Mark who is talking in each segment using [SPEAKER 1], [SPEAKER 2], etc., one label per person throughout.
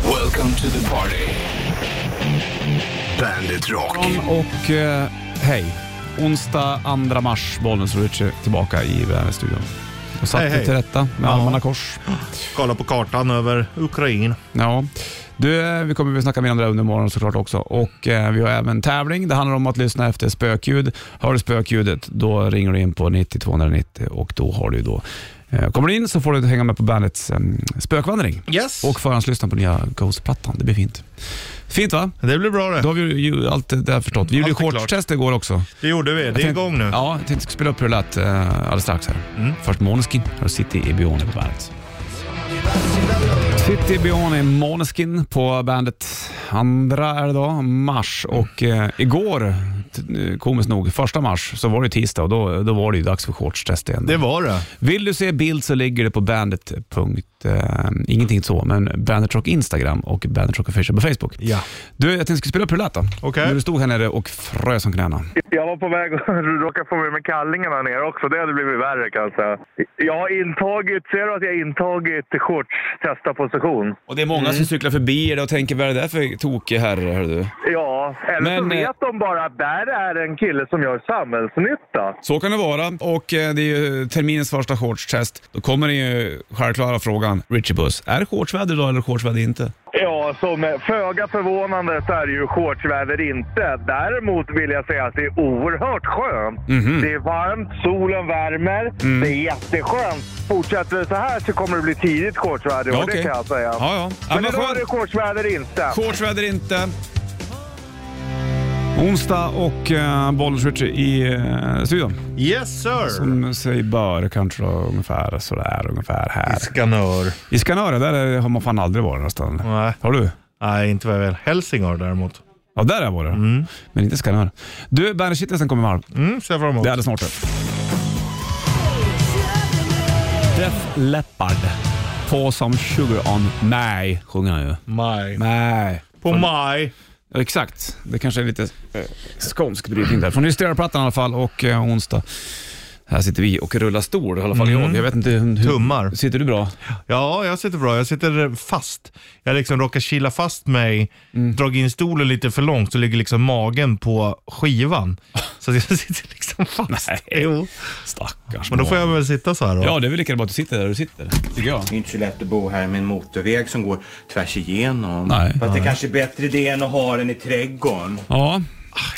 [SPEAKER 1] Welcome to the party. Bandit Rock.
[SPEAKER 2] Och eh, hej. Onsdag 2 mars, Bollnäs och Richie tillbaka i Vänerstudion. Och satt
[SPEAKER 3] Hej,
[SPEAKER 2] dig
[SPEAKER 3] hej.
[SPEAKER 2] till rätta med
[SPEAKER 3] Ja.
[SPEAKER 2] armarna kors.
[SPEAKER 3] Kolla på kartan över Ukraina.
[SPEAKER 2] Ja. Du, eh, vi kommer att snacka mer om det under morgonen såklart också. Och eh, Vi har även tävling. Det handlar om att lyssna efter spökljud. Hör du spökljudet, då ringer du in på 90 290 och då har du ju då eh, Kommer du in så får du hänga med på bandets eh, spökvandring
[SPEAKER 3] Yes.
[SPEAKER 2] och förhandslyssna på nya Ghost-plattan. Det blir fint. Fint va?
[SPEAKER 3] det blir bra det.
[SPEAKER 2] Då har vi ju allt det där förstått. Vi gjorde ju
[SPEAKER 3] Allt är klart.
[SPEAKER 2] shortstest igår också.
[SPEAKER 3] Det gjorde vi. Det är
[SPEAKER 2] tänkte-
[SPEAKER 3] igång nu.
[SPEAKER 2] Ja, jag tänkte jag skulle spela upp hur det lät eh, alldeles strax här.
[SPEAKER 3] Mm.
[SPEAKER 2] Först Måneskin, här City i Bione på bandet. City Bione, Måneskin på bandet. Andra är det då, mars. Och eh, igår, t- eh, komiskt nog, första mars, så var det ju tisdag och då, då var det ju dags för shortstest igen.
[SPEAKER 3] Det var det.
[SPEAKER 2] Vill du se bild så ligger det på bandet. Punkt, eh, ingenting så, men Bandet Rock Instagram och Bandet Rock Official på Facebook.
[SPEAKER 3] Ja.
[SPEAKER 2] Du, jag tänkte jag skulle spela upp hur det lät då.
[SPEAKER 3] Okej.
[SPEAKER 2] När du stod här nere och frös om knäna.
[SPEAKER 4] Jag var på väg att råka få mig med kallingarna ner också. Det hade blivit värre kan jag säga. Jag har intagit, ser du att jag har intagit shorts testa position?
[SPEAKER 2] Och det är många
[SPEAKER 4] Mm.
[SPEAKER 2] som cyklar förbi det och tänker, vad är det där för tokig herre, hör du?
[SPEAKER 4] Ja, eller så
[SPEAKER 2] Men, eh,
[SPEAKER 4] vet de bara att där är en kille som gör samhällsnytta.
[SPEAKER 2] Så kan det vara och eh, det är ju terminens första shortstest. Då kommer den ju självklara frågan, Richie Buss, är det shortsväder idag eller shortsväder inte?
[SPEAKER 4] Ja, som eh, föga förvånande så är det ju shortsväder inte. Däremot vill jag säga att det är oerhört skönt.
[SPEAKER 2] Mhm.
[SPEAKER 4] Det är varmt, solen värmer,
[SPEAKER 2] Mm.
[SPEAKER 4] det är jätteskönt. Fortsätter det så här så kommer det bli tidigt shortsväder i år, det
[SPEAKER 2] okej.
[SPEAKER 4] kan jag säga.
[SPEAKER 2] Ja, ja. Ja,
[SPEAKER 4] Men
[SPEAKER 2] men
[SPEAKER 4] idag
[SPEAKER 2] skönt.
[SPEAKER 4] är det shortsväder inte.
[SPEAKER 2] Shortsväder inte. Onsdag och eh, Bollnäs Richie i eh, studion.
[SPEAKER 3] Yes sir.
[SPEAKER 2] Som sig bör kanske då, ungefär sådär, ungefär här.
[SPEAKER 3] Skanör.
[SPEAKER 2] I Skanör, där har man fan aldrig varit nästan.
[SPEAKER 3] Nej.
[SPEAKER 2] Har du?
[SPEAKER 3] Nej, inte vad jag vill. Hälsingar däremot.
[SPEAKER 2] Ja, där har jag varit. Men inte Skanör. Du, Bandet Shitlisten kommer varm.
[SPEAKER 3] Mm, ser jag fram emot.
[SPEAKER 2] Det är alldeles snart. Def Leppard. På som sugar on mig, sjunger han ju.
[SPEAKER 3] Maj.
[SPEAKER 2] Nej.
[SPEAKER 3] På maj.
[SPEAKER 2] Ja, exakt. Det kanske är lite eh, skånsk brytning där. Från Hysteria-plattan i alla fall och eh, onsdag. Här sitter vi och rullar stol, i alla fall jag. Jag vet inte hur... hur-
[SPEAKER 3] Mm. Tummar.
[SPEAKER 2] Sitter du bra?
[SPEAKER 3] Ja, jag sitter bra. Jag sitter fast. Jag liksom råkar kila fast mig, dragit in stolen lite för långt så ligger liksom magen på skivan. Så att jag sitter liksom fast.
[SPEAKER 2] Nej.
[SPEAKER 3] Jo.
[SPEAKER 2] Stackars
[SPEAKER 3] Men då får
[SPEAKER 2] barn.
[SPEAKER 3] jag väl sitta så här då.
[SPEAKER 2] Ja, det är väl lika bra att du sitter där du sitter, tycker jag.
[SPEAKER 3] Mm.
[SPEAKER 5] Det är inte så lätt att bo här med en motorväg som går tvärs igenom.
[SPEAKER 2] Nej.
[SPEAKER 5] Fast det kanske är bättre det än att ha den i trädgården.
[SPEAKER 2] Ja.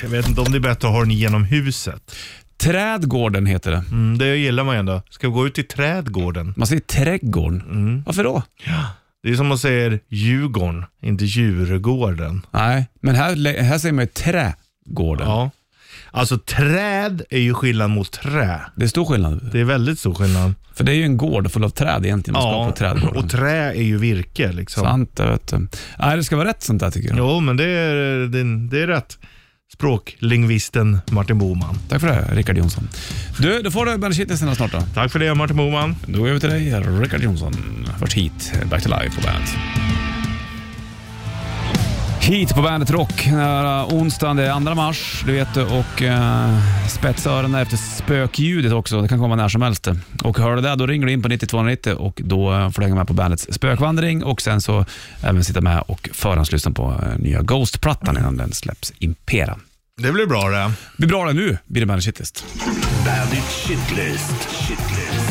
[SPEAKER 3] Jag vet inte om det är bättre att ha den genom huset.
[SPEAKER 2] Trädgården heter det.
[SPEAKER 3] Mm, det gillar man ju ändå. Ska vi gå ut i trädgården?
[SPEAKER 2] Man säger trädgården.
[SPEAKER 3] Mm.
[SPEAKER 2] Varför då?
[SPEAKER 3] Det är som man säger Djurgården, inte Djurgården.
[SPEAKER 2] Nej, men här, här säger man ju trädgården.
[SPEAKER 3] Ja. Alltså träd är ju skillnad mot trä.
[SPEAKER 2] Det är stor skillnad.
[SPEAKER 3] Det är väldigt stor skillnad.
[SPEAKER 2] För det är ju en gård full av träd egentligen. Man skapar trädgården.
[SPEAKER 3] och trä är ju virke liksom.
[SPEAKER 2] Sant det vet du. Nej, det ska vara rätt sånt där tycker jag.
[SPEAKER 3] Jo, men det är, det, det är rätt. Språklingvisten Martin Boman.
[SPEAKER 2] Tack för det, Rickard Jonsson. Du, då får du Bandet Shitlisten snart då.
[SPEAKER 3] Tack för det Martin Boman.
[SPEAKER 2] Då går vi över till dig, Rickard Jonsson. Först hit, Back to Life på bandet. Hit på bandet Rock, den här onsdagen den 2 mars, du vet du, och eh, spetsa öronen efter spökljudet också. Det kan komma när som helst. Och hör du det, då ringer du in på 9290 och då eh, får du hänga med på bandets spökvandring och sen så även sitta med och förhandslyssna på eh, nya Ghost-plattan innan den släpps, Impera.
[SPEAKER 3] Det blir bra det.
[SPEAKER 2] Det blir bra det nu, blir det Bandet Shitlist.
[SPEAKER 1] Bandit Shitlist. Shitlist.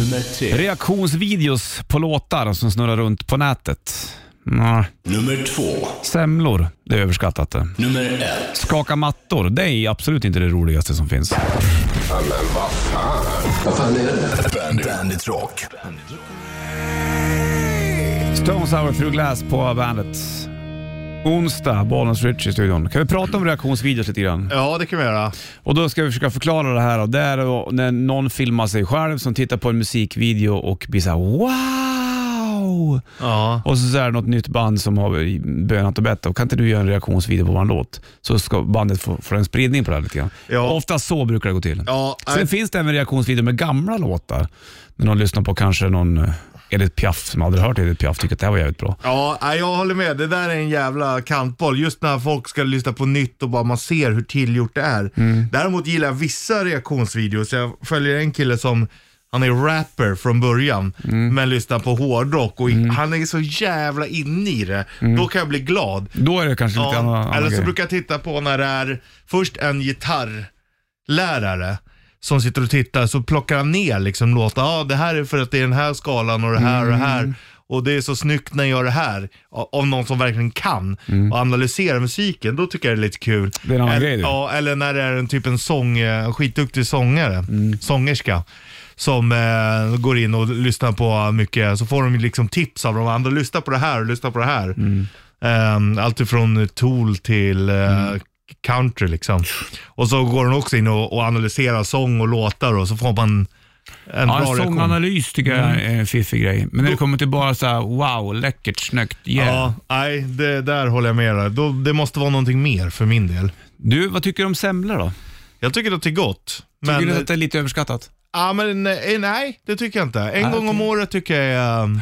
[SPEAKER 1] Nummer tre.
[SPEAKER 2] Reaktionsvideos på låtar som snurrar runt på nätet. Nå,
[SPEAKER 1] Nummer två.
[SPEAKER 2] Semlor, det är överskattat det.
[SPEAKER 1] Nummer ett.
[SPEAKER 2] Skaka mattor, det är absolut inte det roligaste som finns.
[SPEAKER 1] Bandit, Bandit Rock.
[SPEAKER 2] Stones Hour Through Glass på bandet. Onsdag, Bollnäs Rich i studion. Kan vi prata om reaktionsvideos lite grann?
[SPEAKER 3] Ja, det kan vi göra.
[SPEAKER 2] Och då ska vi försöka förklara det här. Och det är då när någon filmar sig själv som tittar på en musikvideo och blir så här wow!
[SPEAKER 3] Ja.
[SPEAKER 2] Och så är det något nytt band som har bönat och bett och kan inte du göra en reaktionsvideo på vår låt? Så ska bandet få, få en spridning på det här lite grann.
[SPEAKER 3] Ja.
[SPEAKER 2] Ofta så brukar det gå till.
[SPEAKER 3] Ja,
[SPEAKER 2] Sen
[SPEAKER 3] nej.
[SPEAKER 2] finns det även reaktionsvideo med gamla låtar. När någon lyssnar på kanske någon eh, Edith Piaf som aldrig hört Edith Piaf tycker att det här var jävligt bra.
[SPEAKER 3] Ja, nej, jag håller med. Det där är en jävla kantboll. Just när folk ska lyssna på nytt och bara man ser hur tillgjort det är. Däremot gillar jag vissa reaktionsvideos. Jag följer en kille som, han Han är rapper från början, men lyssnar på hårdrock och han är så jävla inne i det. Då kan jag bli glad.
[SPEAKER 2] Då är det kanske lite annan,
[SPEAKER 3] Ja,
[SPEAKER 2] annan
[SPEAKER 3] eller så
[SPEAKER 2] grej.
[SPEAKER 3] brukar jag titta på när det är först en gitarrlärare som sitter och tittar, så plockar han ner liksom låtar. Ja, ah, det här är för att det är den här skalan och det här och det
[SPEAKER 2] Mm.
[SPEAKER 3] här. Och det är så snyggt när jag gör det här, av av någon som verkligen kan och analyserar musiken. Då tycker jag det är lite kul.
[SPEAKER 2] Mm. Det är en annan
[SPEAKER 3] eller,
[SPEAKER 2] grej, du.
[SPEAKER 3] Ja, eller när det är en typ en sång, eh, skitduktig sångare, sångerska. Som eh, går in och lyssnar på mycket, så får de ju liksom tips av de andra. Lyssna på det här och lyssna på det här. Um, allt ifrån Tool till eh, country liksom. Och så går de också in och, och analyserar sång och låtar och så får man en
[SPEAKER 2] Ja,
[SPEAKER 3] bra
[SPEAKER 2] en
[SPEAKER 3] reaktion. Mm.
[SPEAKER 2] sånganalys tycker jag är en fiffig grej. Men när det kommer till bara så här, wow, läckert, snyggt, yeah.
[SPEAKER 3] Ja, nej, det, där håller jag med dig. Då, det måste vara någonting mer för min del.
[SPEAKER 2] Du, vad tycker du om semlor då?
[SPEAKER 3] Jag tycker att det är gott.
[SPEAKER 2] Tycker
[SPEAKER 3] Men,
[SPEAKER 2] du att det är lite överskattat?
[SPEAKER 3] ja, men nej, nej, det tycker jag inte. En
[SPEAKER 2] Nej,
[SPEAKER 3] gång om året tycker jag är, um,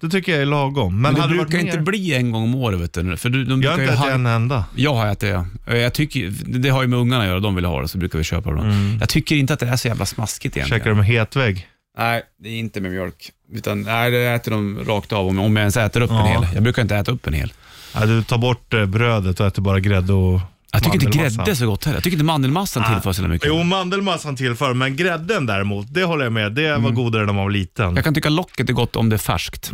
[SPEAKER 3] det tycker jag är lagom. Men,
[SPEAKER 2] Men det
[SPEAKER 3] hade det
[SPEAKER 2] brukar
[SPEAKER 3] varit
[SPEAKER 2] inte
[SPEAKER 3] mer,
[SPEAKER 2] bli en gång om året, vet du. För du, de
[SPEAKER 3] Jag
[SPEAKER 2] brukar
[SPEAKER 3] har
[SPEAKER 2] ju
[SPEAKER 3] inte
[SPEAKER 2] ha-
[SPEAKER 3] ätit en enda.
[SPEAKER 2] Jag har ätit det. Eh, Jag tycker, det har ju med ungarna att göra, de vill ha det, så brukar vi köpa dem. Jag tycker inte att det är så jävla smaskigt egentligen.
[SPEAKER 3] Mm. Käkar du med hetvägg?
[SPEAKER 2] Nej, det är inte med mjölk. Utan, nej, det äter de rakt av, om, om jag ens äter upp
[SPEAKER 3] Ja.
[SPEAKER 2] en hel. Jag brukar inte äta upp en hel.
[SPEAKER 3] Ja, du tar bort eh, brödet och äter bara grädde och
[SPEAKER 2] Jag tycker inte
[SPEAKER 3] mandelmassa.
[SPEAKER 2] grädde är så gott heller. Jag tycker inte mandelmassan tillför så mycket.
[SPEAKER 3] Jo, mandelmassan tillför, men grädden däremot, det håller jag med. Det var godare när man var liten.
[SPEAKER 2] Mm. Jag kan tycka locket är gott om det är färskt.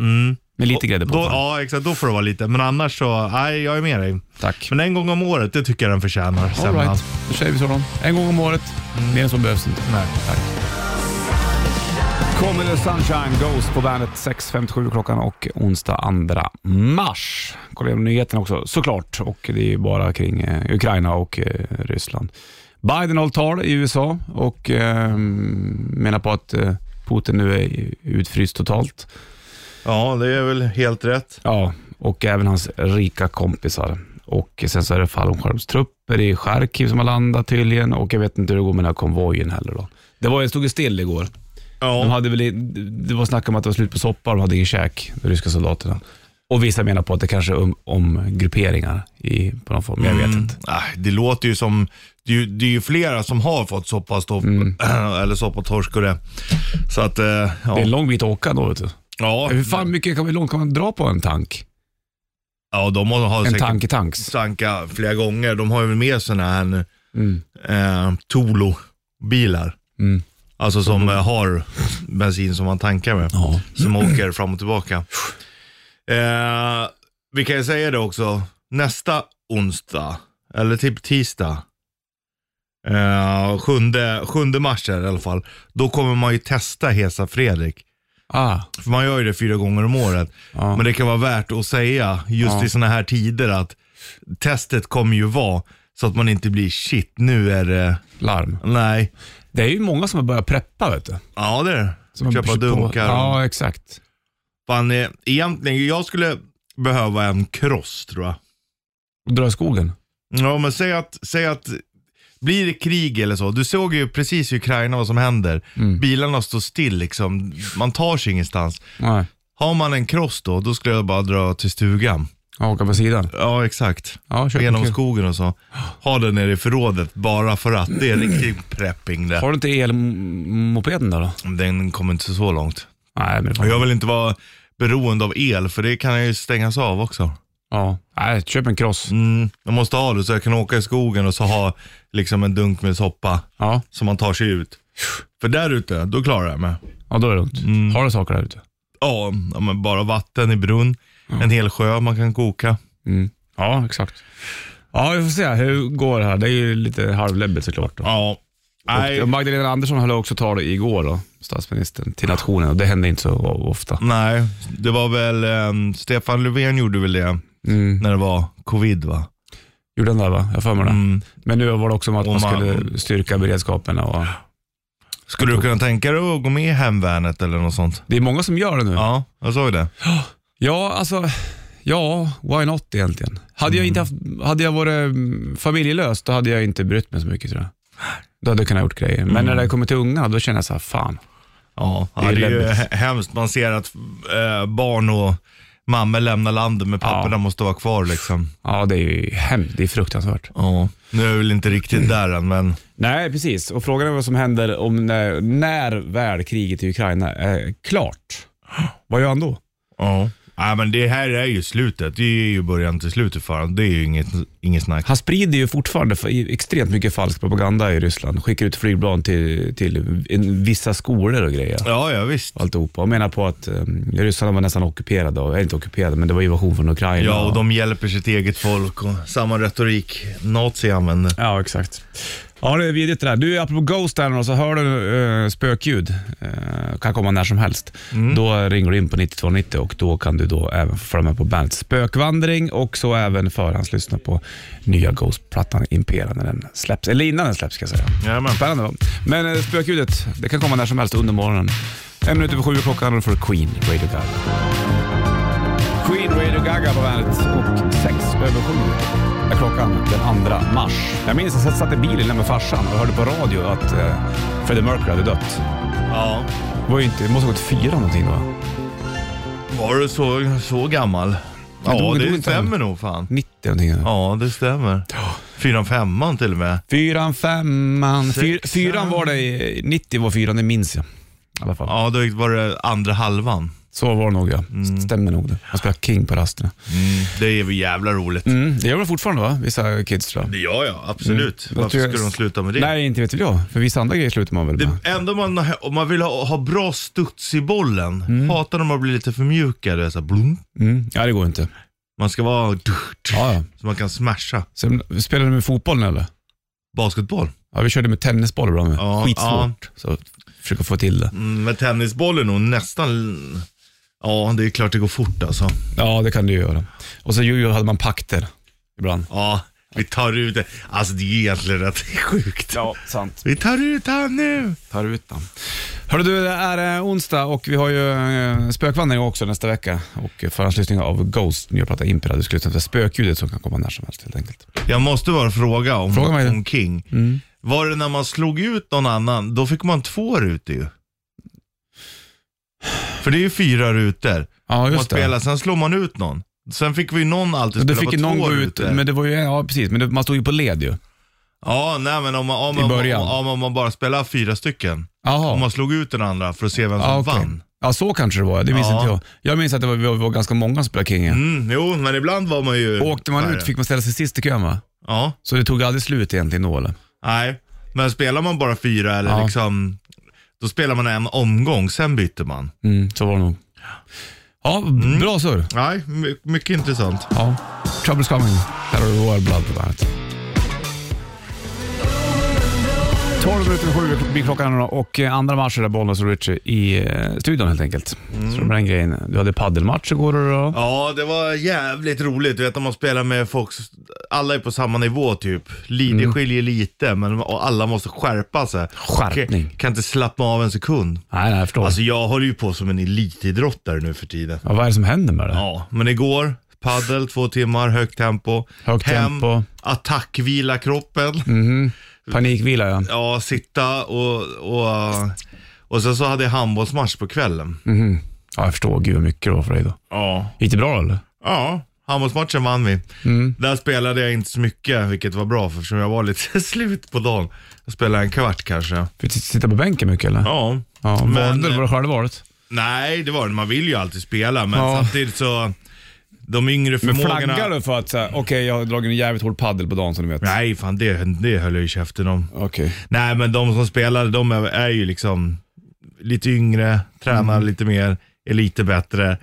[SPEAKER 2] Med lite grädde på.
[SPEAKER 3] Mm. Då,
[SPEAKER 2] fan.
[SPEAKER 3] ja, exakt. Då får det vara lite. Men annars så, nej, jag är med dig.
[SPEAKER 2] Tack.
[SPEAKER 3] Men en gång om året, det tycker jag den förtjänar.
[SPEAKER 2] All
[SPEAKER 3] semlan.
[SPEAKER 2] right. då säger vi så då. En gång om året. Mer än så behövs inte.
[SPEAKER 3] Nej.
[SPEAKER 2] Kommer the sunshine goes på bandet 6.57 klockan och onsdag 2 mars. Kolla igenom nyheterna också såklart. Och det är ju bara kring eh, Ukraina och eh, Ryssland. Biden håller tal i USA och eh, menar på att eh, Putin nu är utfryst totalt.
[SPEAKER 3] Ja, det är väl helt rätt.
[SPEAKER 2] Ja, och även hans rika kompisar. Och sen så är det fallskärmstrupper i Charkiv som har landat tydligen och jag vet inte hur det går med den här konvojen heller då. Det var, jag stod ju still igår. De
[SPEAKER 3] Ja.
[SPEAKER 2] hade väl, det var snack om att det var slut på soppa och de hade ingen käk, de ryska soldaterna. Och vissa menar på att det kanske är om, om grupperingar i, på någon form, jag vet
[SPEAKER 3] Mm.
[SPEAKER 2] inte.
[SPEAKER 3] Nej, det låter ju som, det är ju, det är ju flera som har fått soppastopp,
[SPEAKER 2] Mm.
[SPEAKER 3] eller soppatorsk och det. Så att, eh,
[SPEAKER 2] Det är en
[SPEAKER 3] ja.
[SPEAKER 2] lång bit att åka då vet du.
[SPEAKER 3] Ja,
[SPEAKER 2] Hur fan mycket kan, hur långt kan man dra på en tank?
[SPEAKER 3] ja, de har
[SPEAKER 2] En
[SPEAKER 3] säkert
[SPEAKER 2] tank i tanks.
[SPEAKER 3] tanka flera gånger. De har ju med sådana här nu.
[SPEAKER 2] Mm.
[SPEAKER 3] eh, Tolo-bilar.
[SPEAKER 2] Mm.
[SPEAKER 3] Alltså som eh, har bensin som man tankar med.
[SPEAKER 2] Ja.
[SPEAKER 3] Som åker fram och tillbaka. Eh, vi kan ju säga det också. Nästa onsdag, eller typ tisdag. Eh, sjunde, sjunde mars är det i alla fall. Då kommer man ju testa Hesa Fredrik.
[SPEAKER 2] Ah,
[SPEAKER 3] För man gör ju det fyra gånger om året.
[SPEAKER 2] Ja.
[SPEAKER 3] Men det kan vara värt att säga just
[SPEAKER 2] Ja.
[SPEAKER 3] i sådana här tider att testet kommer ju vara så att man inte blir shit nu är det,
[SPEAKER 2] larm.
[SPEAKER 3] nej.
[SPEAKER 2] Det är ju många som har börjat preppa vet du.
[SPEAKER 3] Ja det är det.
[SPEAKER 2] Som har
[SPEAKER 3] Köpa
[SPEAKER 2] köpt på-
[SPEAKER 3] dunkar.
[SPEAKER 2] Ja, exakt.
[SPEAKER 3] Fan, eh, egentligen, jag skulle behöva en kross tror jag.
[SPEAKER 2] Och dra i skogen.
[SPEAKER 3] Ja, men säg att, säg att blir det krig eller så. Du såg ju precis i Ukraina vad som händer.
[SPEAKER 2] Mm.
[SPEAKER 3] Bilarna står still liksom. Man tar sig ingenstans.
[SPEAKER 2] Nej,
[SPEAKER 3] Har man en kross då, då skulle jag bara dra till stugan.
[SPEAKER 2] ja, åka på sidan.
[SPEAKER 3] Ja, exakt.
[SPEAKER 2] Ja, köp en
[SPEAKER 3] Genom
[SPEAKER 2] kul.
[SPEAKER 3] skogen och så. Ha den nere i förrådet bara för att. Det är riktigt prepping det.
[SPEAKER 2] Har du inte elmopeden där då?
[SPEAKER 3] Den kommer inte så långt.
[SPEAKER 2] Nej, men
[SPEAKER 3] Och
[SPEAKER 2] fan.
[SPEAKER 3] jag vill inte vara beroende av el, för det kan ju stängas av också.
[SPEAKER 2] Ja. Nej, köp en cross.
[SPEAKER 3] Mm, jag måste ha det så jag kan åka i skogen och så ha liksom en dunk med soppa
[SPEAKER 2] Ja,
[SPEAKER 3] som man tar sig ut. För där ute, då klarar jag mig.
[SPEAKER 2] ja då är det lugnt. Har du saker där ute?
[SPEAKER 3] Ja, ja, men bara vatten i brunn, en hel sjö man kan koka.
[SPEAKER 2] Mm. Ja, exakt. Ja, vi får se hur går det här. Det är ju lite halvläbbigt såklart. Då.
[SPEAKER 3] Ja. Nej,
[SPEAKER 2] Och eh, Magdalena Andersson höll också tal igår, då, statsministern, till nationen. Och det händer inte så ofta.
[SPEAKER 3] nej, det var väl ehm, Stefan Löfven gjorde väl det
[SPEAKER 2] Mm.
[SPEAKER 3] när det var covid va?
[SPEAKER 2] Gjorde den där va? Jag har för mig det.
[SPEAKER 3] Mm.
[SPEAKER 2] Men nu var det också om att
[SPEAKER 3] Och
[SPEAKER 2] man
[SPEAKER 3] man-
[SPEAKER 2] skulle styrka beredskapen. Och...
[SPEAKER 3] Skulle du kunna tänka dig att gå med i hemvärnet eller något sånt?
[SPEAKER 2] Det är många som gör det nu.
[SPEAKER 3] Ja, jag såg det.
[SPEAKER 2] Ja, alltså, ja, why not egentligen? Hade, jag inte haft, hade jag varit mm, familjelös, då hade jag inte brytt mig så mycket tror jag. Då hade jag kunnat gjort grejer. Men när det kommer till unga, då känner jag så här, fan.
[SPEAKER 3] Ja, det
[SPEAKER 2] är
[SPEAKER 3] är, ju
[SPEAKER 2] läbbigt.
[SPEAKER 3] he- hemskt. Man ser att eh, barn och Mamma lämnar landet men papporna
[SPEAKER 2] Ja.
[SPEAKER 3] måste vara kvar liksom.
[SPEAKER 2] Ja, det är ju hemskt. Det är fruktansvärt.
[SPEAKER 3] Ja. Mm. Nu är jag väl inte riktigt där än men
[SPEAKER 2] Nej, precis. Och frågan är vad som händer om när, när väl kriget i Ukraina är klart. Vad gör han då?
[SPEAKER 3] ja. Nej men det här är ju slutet. Det är ju början till slutet för honom. Det är ju inget, inget snack.
[SPEAKER 2] Han sprider ju fortfarande f- extremt mycket falsk propaganda i Ryssland. Skickar ut flygplan till, till en, vissa skolor och grejer.
[SPEAKER 3] Ja, ja visst.
[SPEAKER 2] Alltihopa. Och menar på att um, Ryssland var nästan ockuperade, och, eller inte ockuperade, men det var invasion från Ukraina.
[SPEAKER 3] Ja, och de hjälper sitt eget folk och samma retorik nazi använder.
[SPEAKER 2] Ja, exakt. Ja, det är vidrigt det där. Du, apropå Ghost här nu då, så hör du eh, spökljud, eh, kan komma när som helst,
[SPEAKER 3] Mm.
[SPEAKER 2] då ringer du in på 9290 och då kan du då även få följa med på bandets spökvandring och så även förhandslyssna på nya Ghost-plattan Impera när den släpps, eller innan den släpps ska jag säga.
[SPEAKER 3] Jajamän.
[SPEAKER 2] Spännande va? Men eh, spökljudet, det kan komma när som helst under morgonen. En minut över sju är klockan och för Queen Radio Gaga. Queen Radio Gaga på bandet och sex över sju är klockan den 2 mars. Jag minns att jag satt i bilen med farsan och hörde på radio att eh, Freddie Mercury hade dött.
[SPEAKER 3] Ja.
[SPEAKER 2] Det var ju inte, det måste ha gått fyra någonting va?
[SPEAKER 3] Var du så, så gammal?
[SPEAKER 2] Jag
[SPEAKER 3] Ja,
[SPEAKER 2] dog- dog
[SPEAKER 3] det
[SPEAKER 2] inte
[SPEAKER 3] stämmer
[SPEAKER 2] än.
[SPEAKER 3] nog fan.
[SPEAKER 2] 90 någonting. Ja.
[SPEAKER 3] Ja, det stämmer. Fyran, femman till och med.
[SPEAKER 2] Fyran, femman, fyr,
[SPEAKER 3] Sexan.
[SPEAKER 2] fyran var det, i- 90 var fyran, det minns jag. I alla fall.
[SPEAKER 3] Ja, då var det andra halvan.
[SPEAKER 2] Så var det nog ja.
[SPEAKER 3] Mm.
[SPEAKER 2] Stämmer nog det. Han spelade King på rasterna.
[SPEAKER 3] Det är väl jävla roligt.
[SPEAKER 2] Mm, det gör de fortfarande va? Vissa kids tror jag.
[SPEAKER 3] Det gör jag, absolut.
[SPEAKER 2] Mm. Jag
[SPEAKER 3] Varför
[SPEAKER 2] tror jag-
[SPEAKER 3] skulle de sluta med det?
[SPEAKER 2] Nej, inte vet väl jag. För vissa andra grejer slutar man väl med.
[SPEAKER 3] Det enda man, om man vill ha, ha bra studs i bollen, hatar när man blir lite för mjuka. Det är så här, blum.
[SPEAKER 2] Mm. Ja, det går inte.
[SPEAKER 3] Man ska vara
[SPEAKER 2] Ja, ja.
[SPEAKER 3] så man kan smasha.
[SPEAKER 2] Sen, spelar du med fotbollen eller?
[SPEAKER 3] Basketboll.
[SPEAKER 2] Ja, vi körde med tennisboll ibland med.
[SPEAKER 3] Ja,
[SPEAKER 2] Skitsvårt. Så försöka få till det.
[SPEAKER 3] Mm, men tennisboll är nog nästan... Ja, det är klart det går fort alltså.
[SPEAKER 2] Ja, det kan du ju göra. Och så ju hade man pakter ibland.
[SPEAKER 3] Ja, vi tar ut det. Alltså det är egentligen rätt sjukt.
[SPEAKER 2] sant.
[SPEAKER 3] Vi tar ut han nu.
[SPEAKER 2] Tar ut dem. Hörru du, det är eh, onsdag och vi har ju eh, spökvandring också nästa vecka. Och eh, förhandslyssning av Ghost, nya platta Impera. Du skulle lyssna till spökljudet som kan komma när som helst helt enkelt.
[SPEAKER 3] Jag måste bara fråga om,
[SPEAKER 2] Fråga mig. Mm.
[SPEAKER 3] om King. Var det när man slog ut någon annan, då fick man två rutor ju. För det är ju fyra rutor.
[SPEAKER 2] Ja,
[SPEAKER 3] Man
[SPEAKER 2] just det.
[SPEAKER 3] spelar, sen slår man ut någon. Sen fick vi ju någon alltid
[SPEAKER 2] Men
[SPEAKER 3] spela
[SPEAKER 2] du fick
[SPEAKER 3] på
[SPEAKER 2] ju någon
[SPEAKER 3] två
[SPEAKER 2] gå ut,
[SPEAKER 3] rutor.
[SPEAKER 2] men det var ju, ja precis, men det, man stod ju på led ju.
[SPEAKER 3] Ja, nej men om man, om,
[SPEAKER 2] I
[SPEAKER 3] man, om,
[SPEAKER 2] början.
[SPEAKER 3] om, om man bara spelar fyra stycken.
[SPEAKER 2] Jaha.
[SPEAKER 3] Om man slog ut den andra för att se vem som
[SPEAKER 2] Ja, okej.
[SPEAKER 3] vann.
[SPEAKER 2] Ja, så kanske det var. Det minns
[SPEAKER 3] Ja.
[SPEAKER 2] inte jag. Jag minns att det var, vi var ganska många som spelade King.
[SPEAKER 3] Mm, jo, men ibland var man ju...
[SPEAKER 2] Åkte man
[SPEAKER 3] Nej.
[SPEAKER 2] ut fick man ställa sig sist i kön va?
[SPEAKER 3] Ja.
[SPEAKER 2] Så det tog aldrig slut egentligen då eller?
[SPEAKER 3] Nej, men spelar man bara fyra eller
[SPEAKER 2] Ja.
[SPEAKER 3] liksom, då spelar man en omgång, sen byter man.
[SPEAKER 2] Mm, så var det nog. Ja, bra surr.
[SPEAKER 3] Nej, my- mycket intressant.
[SPEAKER 2] Ja. Trouble's coming. Här har du Royal Blood på bandet. 12 minuter över sju blir klockan och eh, andra matcher där Bollnäs och Richie i eh, studion helt enkelt. Så det var den grejen. Du hade paddelmatch igår och då.
[SPEAKER 3] Mm. Ja, det var jävligt roligt. Du vet när man spelar med folk, alla är på samma nivå typ. Li- Det skiljer lite, men och alla måste skärpa sig. eh,
[SPEAKER 2] Skärpning.
[SPEAKER 3] Kan, kan inte slappna av en sekund.
[SPEAKER 2] Nej, nej, jag förstår.
[SPEAKER 3] Alltså jag håller ju på som en elitidrottare nu för tiden.
[SPEAKER 2] ja, vad är det som händer med det?
[SPEAKER 3] Ja, men igår, paddel, två timmar, högt tempo. Mm.
[SPEAKER 2] Högt tempo.
[SPEAKER 3] attackvila kroppen.
[SPEAKER 2] Panikvila ja.
[SPEAKER 3] Ja, sitta och, och, och sen så hade jag handbollsmatch på kvällen.
[SPEAKER 2] Ja, jag förstår. Gud vad mycket det var för dig då.
[SPEAKER 3] Ja.
[SPEAKER 2] Gick det bra eller?
[SPEAKER 3] Ja, handbollsmatchen vann vi.
[SPEAKER 2] Mm.
[SPEAKER 3] Där spelade jag inte så mycket, vilket var bra för eftersom jag var lite slut på dagen. Jag spelade en kvart kanske.
[SPEAKER 2] Fick du sitta på bänken mycket eller?
[SPEAKER 3] Ja.
[SPEAKER 2] ja
[SPEAKER 3] men-
[SPEAKER 2] valde du? Var det självvalet?
[SPEAKER 3] Nej, det var det. Man vill ju alltid spela, men
[SPEAKER 2] Ja.
[SPEAKER 3] samtidigt så, de yngre
[SPEAKER 2] Men
[SPEAKER 3] förmågorna...
[SPEAKER 2] flaggar du för att säga, okej jag har dragit en jävligt hård paddel på dagen som du vet?
[SPEAKER 3] Nej, fan det, det höll jag ju käften om.
[SPEAKER 2] Okej.
[SPEAKER 3] Nej, men de som spelade, de är, är ju liksom lite yngre, tränar
[SPEAKER 2] Mm.
[SPEAKER 3] lite mer, är lite bättre.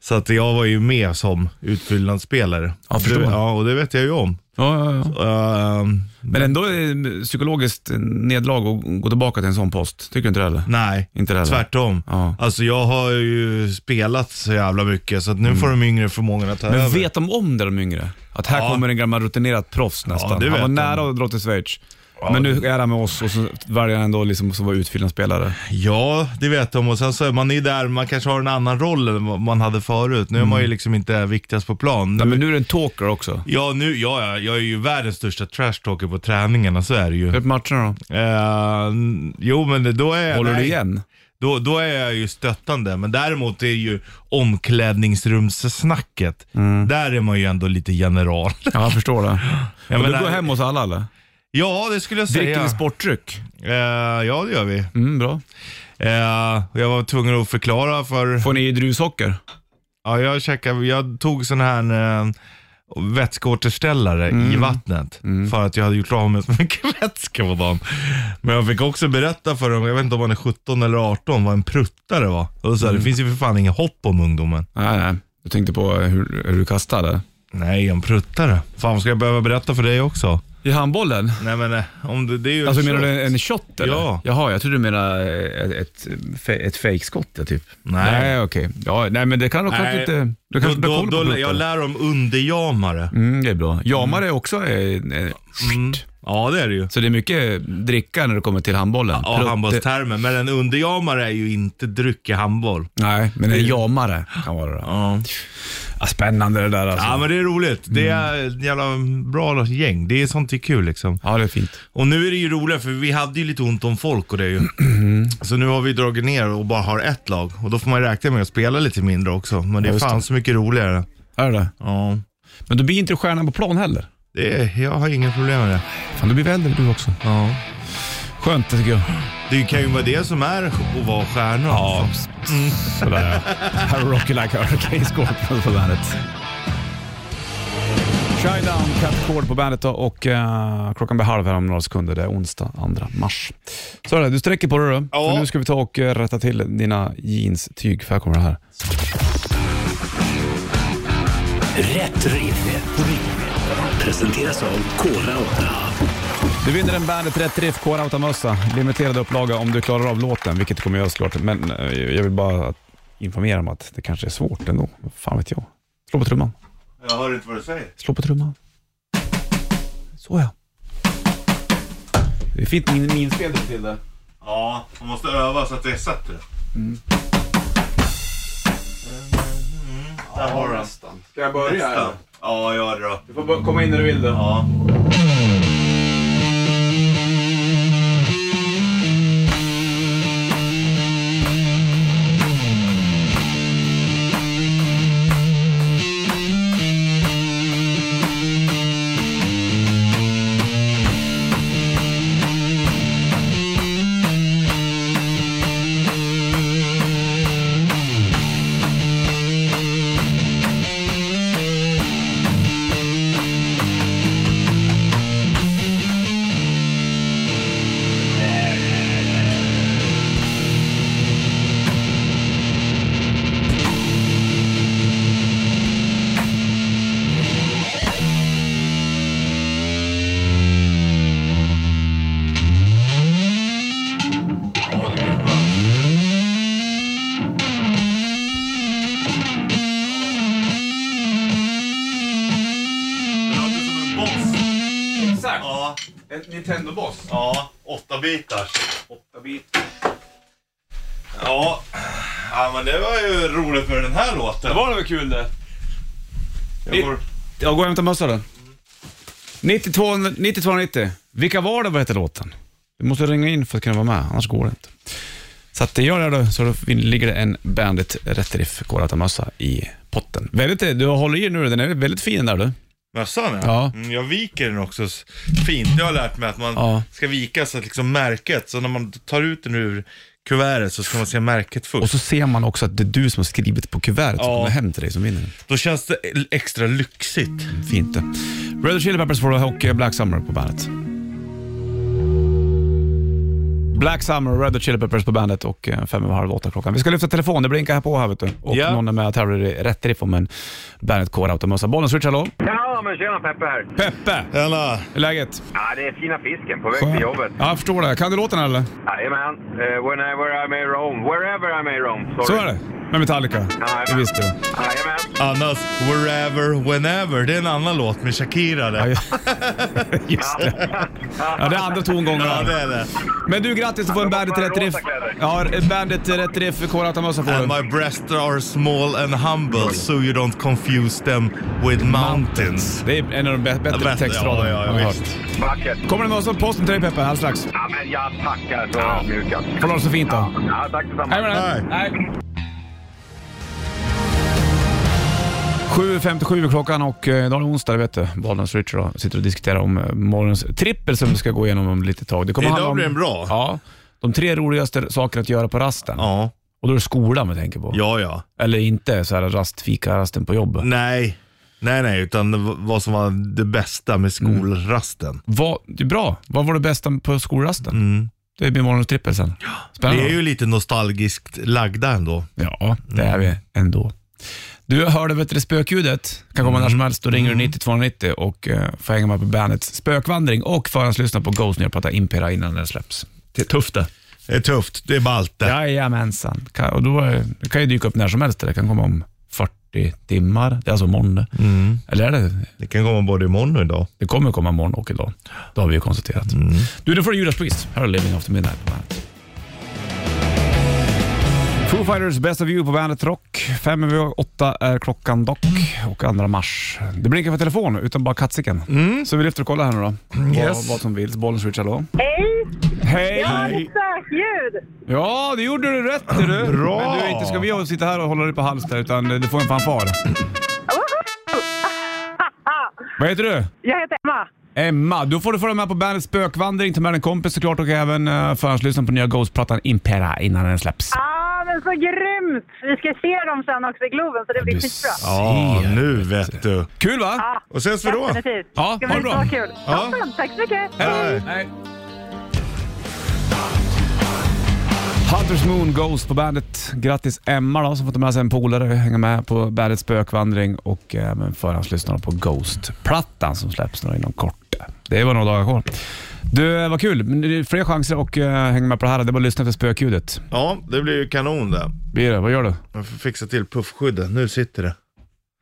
[SPEAKER 3] Så att jag var ju med som utfyllnadsspelare.
[SPEAKER 2] Ja, förstår.
[SPEAKER 3] Det- Ja, och det vet jag ju om.
[SPEAKER 2] Ja, ja, ja.
[SPEAKER 3] Ehm,
[SPEAKER 2] Men ändå är det psykologiskt nedlag att gå tillbaka till en sån post. Tycker du inte det eller?
[SPEAKER 3] nej,
[SPEAKER 2] Inte det heller.
[SPEAKER 3] tvärtom.
[SPEAKER 2] Ja.
[SPEAKER 3] Alltså jag har ju spelat så jävla mycket så att nu får de yngre förmågorna ta
[SPEAKER 2] Mm. Men
[SPEAKER 3] över.
[SPEAKER 2] vet de om det de yngre? Att här
[SPEAKER 3] Ja.
[SPEAKER 2] kommer en gammal rutinerad proffs nästan.
[SPEAKER 3] det
[SPEAKER 2] han
[SPEAKER 3] vet
[SPEAKER 2] var
[SPEAKER 3] de.
[SPEAKER 2] nära att dra till Schweiz. Men nu är han med oss och så väljer han ändå liksom att vara utfyllnadsspelare.
[SPEAKER 3] Ja, det vet de. Och sen så är man ju där, man kanske har en annan roll än vad man hade förut. Nu är man ju liksom inte viktigast på plan.
[SPEAKER 2] Mm. Nej, men nu är det en talker också.
[SPEAKER 3] Ja, nu, ja, ja, jag är ju världens största trashtalker på träningarna, så är det ju.
[SPEAKER 2] Hur är det på matcherna då?
[SPEAKER 3] Eh, jo, men då är jag...
[SPEAKER 2] Håller du
[SPEAKER 3] nej.
[SPEAKER 2] igen?
[SPEAKER 3] Då, då är jag ju stöttande. Men däremot är ju omklädningsrumssnacket.
[SPEAKER 2] Mm.
[SPEAKER 3] Där är man ju ändå lite general.
[SPEAKER 2] Ja, jag förstår det.
[SPEAKER 3] Ja,
[SPEAKER 2] men
[SPEAKER 3] men
[SPEAKER 2] du
[SPEAKER 3] det-
[SPEAKER 2] går hem hos alla eller?
[SPEAKER 3] Ja, det skulle jag
[SPEAKER 2] Dricker
[SPEAKER 3] säga.
[SPEAKER 2] ni sportdryck?
[SPEAKER 3] Eh, ja, det gör vi.
[SPEAKER 2] Mm, bra.
[SPEAKER 3] Eh, jag var tvungen att förklara för...
[SPEAKER 2] Får ni i druvsocker?
[SPEAKER 3] Ja, jag, checkade, jag tog sån här eh, vätskeåterställare i
[SPEAKER 2] Mm.
[SPEAKER 3] vattnet. För att jag hade gjort av med så mycket vätska på dagen. Men jag fick också berätta för dem, jag vet inte om han är 17 eller 18, vad en pruttare var. Och så här,
[SPEAKER 2] Mm.
[SPEAKER 3] Det finns ju för fan inget hopp om ungdomen.
[SPEAKER 2] Nej, nej. Jag tänkte på hur, hur du kastade.
[SPEAKER 3] Nej, en pruttare. Fan, vad ska jag behöva berätta för dig också?
[SPEAKER 2] I handbollen?
[SPEAKER 3] Nej men eh, om det, det är ju
[SPEAKER 2] Alltså
[SPEAKER 3] en
[SPEAKER 2] menar
[SPEAKER 3] shot.
[SPEAKER 2] du en shot eller?
[SPEAKER 3] Ja.
[SPEAKER 2] Jaha, jag trodde du menade ett, ett, fe- ett fejkskott ja, typ.
[SPEAKER 3] Nej.
[SPEAKER 2] Nej, okej. Ja, nej, men det kan du kanske
[SPEAKER 3] Nej,
[SPEAKER 2] inte... Du
[SPEAKER 3] då,
[SPEAKER 2] kanske inte har
[SPEAKER 3] då,
[SPEAKER 2] koll på
[SPEAKER 3] då,
[SPEAKER 2] pluttar.
[SPEAKER 3] Jag lär om underjamare.
[SPEAKER 2] Mm, det är bra. Jamare är också... eh, eh,
[SPEAKER 3] Mm. Ja, det är det ju.
[SPEAKER 2] Så det är mycket dricka när det kommer till handbollen.
[SPEAKER 3] Ja,
[SPEAKER 2] Prutt-
[SPEAKER 3] handbollstermer. Men en underjamare är ju inte dryck i handboll.
[SPEAKER 2] Nej, men en jamare kan vara det.
[SPEAKER 3] Ja.
[SPEAKER 2] Ja, spännande det där alltså.
[SPEAKER 3] Ja, men det är roligt. Det är ett jävla bra gäng. Det är sånt är kul liksom.
[SPEAKER 2] Ja, det är fint.
[SPEAKER 3] Och nu är det ju roligare för vi hade ju lite ont om folk och det är ju. Så nu har vi dragit ner och bara har ett lag. Och då får man räkna med att spela lite mindre också. Men det är
[SPEAKER 2] just
[SPEAKER 3] fan så mycket roligare.
[SPEAKER 2] Är det det
[SPEAKER 3] Ja.
[SPEAKER 2] Men du blir inte stjärnan på plan heller.
[SPEAKER 3] Det är, jag har inga problem med det.
[SPEAKER 2] Fan, du blir väl äldre du också.
[SPEAKER 3] Ja.
[SPEAKER 2] Skönt det tycker jag.
[SPEAKER 3] Det kan ju vara det som är att vara stjärna.
[SPEAKER 2] Ja, sådär ja. Här är Rocky Like Hurricane Scorpions på bandet. Shinedown, Cat Cord på bandet då, och eh, klockan blir halv här om några sekunder. Det är onsdag 2 mars. Så är det, du sträcker på dig då.
[SPEAKER 3] Ja.
[SPEAKER 2] För nu ska vi ta och eh, rätta till dina jeanstyg, för här kommer det här.
[SPEAKER 1] Rätt riff. Presenteras av Kora 8.
[SPEAKER 2] Du vinner en Bandet Rätt Riff K-Rauta-mössa. Limiterad upplaga om du klarar av låten, vilket du kommer göra såklart. Men eh, jag vill bara informera om att det kanske är svårt ändå. Vad Fan vet jag. Slå på trumman.
[SPEAKER 3] Jag hör inte vad du säger.
[SPEAKER 2] Slå på trumman. Så ja. Det är fint min, minspel till det.
[SPEAKER 3] Ja, man måste öva så att det sätter. Där har du den.
[SPEAKER 2] Ska jag börja?
[SPEAKER 3] Ja, Ja, gör det då.
[SPEAKER 2] Du får komma in när du vill. Då.
[SPEAKER 3] Ja. Det låter som en boss.
[SPEAKER 2] Exakt.
[SPEAKER 3] Ja,
[SPEAKER 2] En Nintendo Boss.
[SPEAKER 3] ja. Åtta bitars.
[SPEAKER 2] Åtta bitar.
[SPEAKER 3] Ja. ja, men det var ju roligt med den här låten.
[SPEAKER 2] var väl kul det.
[SPEAKER 3] Jag går...
[SPEAKER 2] Jag går och hämtar mössan då. 92, 9290. Vilka var det vad hette låten? Du måste ringa in för att kunna vara med, annars går det inte. Så att gör det då, så då ligger det en Bandit Rätt Riff mössa i potten. Väldigt, du håller i den nu, den är väldigt fin där du.
[SPEAKER 3] Mössan
[SPEAKER 2] Ja.
[SPEAKER 3] Mm, jag viker den också s- fint. Jag har lärt mig att man
[SPEAKER 2] Ja.
[SPEAKER 3] ska vika så att liksom märket, så när man tar ut den ur kuvertet så ska man se märket först.
[SPEAKER 2] Och så ser man också att det är du som har skrivit på kuvertet som
[SPEAKER 3] Ja.
[SPEAKER 2] kommer hem till dig som vinner. den.
[SPEAKER 3] Då känns det l- extra lyxigt.
[SPEAKER 2] Fint det. Red Hot Chili Peppers får du och eh, Black Summer på bandet. Black Summer, Red Hot Chili Peppers på bandet och eh, fem över halv åtta klockan. Vi ska lyfta telefon, det blinkar här på här vet du. Och
[SPEAKER 3] Ja.
[SPEAKER 2] någon är med och tävlar i rätt riff om en Bandet K-Rauta-mössa. Bollens Rich, hallå?
[SPEAKER 4] Ja, men tjena Peppe här.
[SPEAKER 2] Peppe,
[SPEAKER 3] Tjena!
[SPEAKER 2] hur är läget?
[SPEAKER 4] Ja, det är fina fisken på väg till jobbet. Eh,
[SPEAKER 2] Ja, jag förstår det. Kan du låten eller?
[SPEAKER 4] Jajamän. Uh, whenever I may roam. Wherever I may roam. Sorry.
[SPEAKER 2] Så är det. Med Metallica. Det visste du.
[SPEAKER 4] Jajamän.
[SPEAKER 3] Annars, Wherever, Whenever, det är en annan låt med Shakira
[SPEAKER 2] Ja,
[SPEAKER 3] där.
[SPEAKER 2] ju- Just det. Ja, det är andra tongångar.
[SPEAKER 3] Ja, det är det.
[SPEAKER 2] Men du, grattis! Du får en
[SPEAKER 4] Ja, då
[SPEAKER 2] Bandet
[SPEAKER 4] får jag
[SPEAKER 2] Rätt Riff.
[SPEAKER 4] rosa kläder.
[SPEAKER 2] Ja, Bandet Rätt Riff Kolhatamössa får
[SPEAKER 3] And
[SPEAKER 2] du.
[SPEAKER 3] my breasts are small and humble so you don't confuse them with mountains.
[SPEAKER 2] Det är en av de bä- bättre
[SPEAKER 3] Bättre,
[SPEAKER 2] textraderna
[SPEAKER 3] ja, ja,
[SPEAKER 2] jag har
[SPEAKER 3] visst.
[SPEAKER 2] hört.
[SPEAKER 4] Vackert.
[SPEAKER 2] Kommer det mössa på posten till dig Peppe alldeles strax?
[SPEAKER 4] Ja, men jag tackar så ödmjukast.
[SPEAKER 2] Får du ha det så fint då.
[SPEAKER 4] Ja, tack detsamma.
[SPEAKER 2] Hej med dig!
[SPEAKER 3] Hej.
[SPEAKER 2] Hej. 7.57 är klockan och eh, idag är det onsdag, det vet du. Bollnäs Richard då, sitter och diskuterar om eh, morgonens trippel som vi ska gå igenom om lite tag. Det kommer
[SPEAKER 3] Idag
[SPEAKER 2] handla om-
[SPEAKER 3] blir den bra.
[SPEAKER 2] Ja. De tre roligaste sakerna att göra på rasten.
[SPEAKER 3] Ja,
[SPEAKER 2] Och då är det skolan vi tänker på.
[SPEAKER 3] ja, ja.
[SPEAKER 2] Eller inte så här rastfika, rasten på jobbet.
[SPEAKER 3] Nej, nej, nej, utan v- vad som var det bästa med
[SPEAKER 2] Mm.
[SPEAKER 3] skolrasten.
[SPEAKER 2] Vad, det är bra. Vad var det bästa på skolrasten? Det blir morgonens trippel sen. Spännande.
[SPEAKER 3] Vi är ju lite nostalgiskt lagda ändå.
[SPEAKER 2] Ja, det är vi ändå. Du hörde vet du, spökljudet. kan komma när som helst. Då ringer du 90 och eh, får hänga med på bandets spökvandring och förhandslyssna på Ghost när jag pratar Impera innan den släpps. Det är tufft det.
[SPEAKER 3] Det är tufft, det är ballt det.
[SPEAKER 2] Jajamensan. Kan- Och då eh, det kan ju dyka upp när som helst. Det kan komma om 40 timmar. Det är alltså imorgon. Mm. Eller är det?
[SPEAKER 3] Det kan komma både imorgon och idag.
[SPEAKER 2] Det kommer komma imorgon och idag. Det har vi ju konstaterat. Du, då får du Judas Priest. Här har Living After Midnight på bandet. Foo Fighters Best of You på bandet Rock. Fem över åtta är klockan dock och andra mars. Det blinkar på telefon utan bara katsiken. Så vi lyfter och kollar här nu då. Vad,
[SPEAKER 3] Yes.
[SPEAKER 2] vad som vill. Bollen switch, hallå.
[SPEAKER 6] Hej!
[SPEAKER 2] Hej!
[SPEAKER 6] Jag har ett spökljud!
[SPEAKER 2] Ja, det gjorde du rätt i du.
[SPEAKER 3] Bra.
[SPEAKER 2] Men du, inte ska vi sitta här och hålla dig på hals där, utan du får en fanfar. Vad heter du?
[SPEAKER 6] Jag heter Emma.
[SPEAKER 2] Emma, då får du följa med på bandets spökvandring, ta med en kompis såklart och även uh, förhandslyssna på nya Ghost-plattan Impera innan den släpps.
[SPEAKER 6] Ah, men så grymt! Vi ska se dem sen också i Globen, så det blir
[SPEAKER 2] Du
[SPEAKER 6] skitbra.
[SPEAKER 2] ser.
[SPEAKER 3] Ja, nu vet du.
[SPEAKER 2] Kul va?
[SPEAKER 6] Ja,
[SPEAKER 3] Och ses vi då.
[SPEAKER 6] definitivt.
[SPEAKER 2] Ja,
[SPEAKER 6] ska
[SPEAKER 2] ha det
[SPEAKER 6] bli
[SPEAKER 2] bra.
[SPEAKER 6] så kul.
[SPEAKER 3] Ja.
[SPEAKER 6] Toppen, tack så mycket!
[SPEAKER 3] Hej.
[SPEAKER 2] Hej. Hunters Moon Ghost på bandet. Grattis Emma då, som får ta med sig en polare och hänga med på bandets spökvandring och även förhandslyssna på Ghost-plattan som släpps nu inom kort. Det var några dagar kvar. Du, eh, vad kul. Men det är Fler chanser och eh, hänga med på det här. Det är bara att lyssna efter spökljudet.
[SPEAKER 3] Ja, det blir ju kanon det.
[SPEAKER 2] Blir det? Vad gör du?
[SPEAKER 3] Jag får fixa till puffskyddet. Nu sitter det.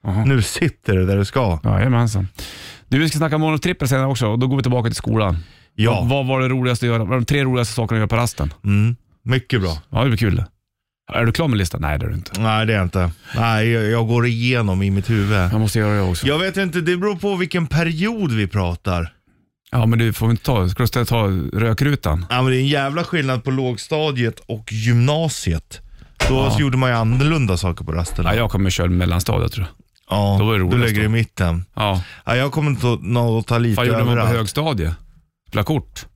[SPEAKER 2] Aha.
[SPEAKER 3] Nu sitter det där det ska.
[SPEAKER 2] Jajamensan. Du, vi ska snacka morgontrippel senare också och då går vi tillbaka till skolan.
[SPEAKER 3] Ja.
[SPEAKER 2] Vad, vad var det roligaste att göra? Vad var de tre roligaste sakerna att göra på rasten?
[SPEAKER 3] Mm. Mycket bra.
[SPEAKER 2] Ja, det blir kul. Är du klar med listan? Nej, det är du inte.
[SPEAKER 3] Nej, det är jag inte. Nej, jag, jag går igenom i mitt huvud.
[SPEAKER 2] Jag måste göra det också. Ja,
[SPEAKER 3] Jag vet inte, det beror på vilken period vi pratar.
[SPEAKER 2] men du får inte ta... Ska du ställa- ta rökrutan?
[SPEAKER 3] Ja, men det är en jävla skillnad på lågstadiet och gymnasiet. Då så gjorde man ju annorlunda saker på rasterna.
[SPEAKER 2] Ja, jag kommer köra mellanstadiet tror jag.
[SPEAKER 3] Ja,
[SPEAKER 2] då var det roligast
[SPEAKER 3] du lägger
[SPEAKER 2] då.
[SPEAKER 3] i mitten.
[SPEAKER 2] Ja.
[SPEAKER 3] Ja, jag kommer inte att nå- ta lite
[SPEAKER 2] Vad gjorde man på
[SPEAKER 3] överallt.
[SPEAKER 2] högstadiet? Spela kort?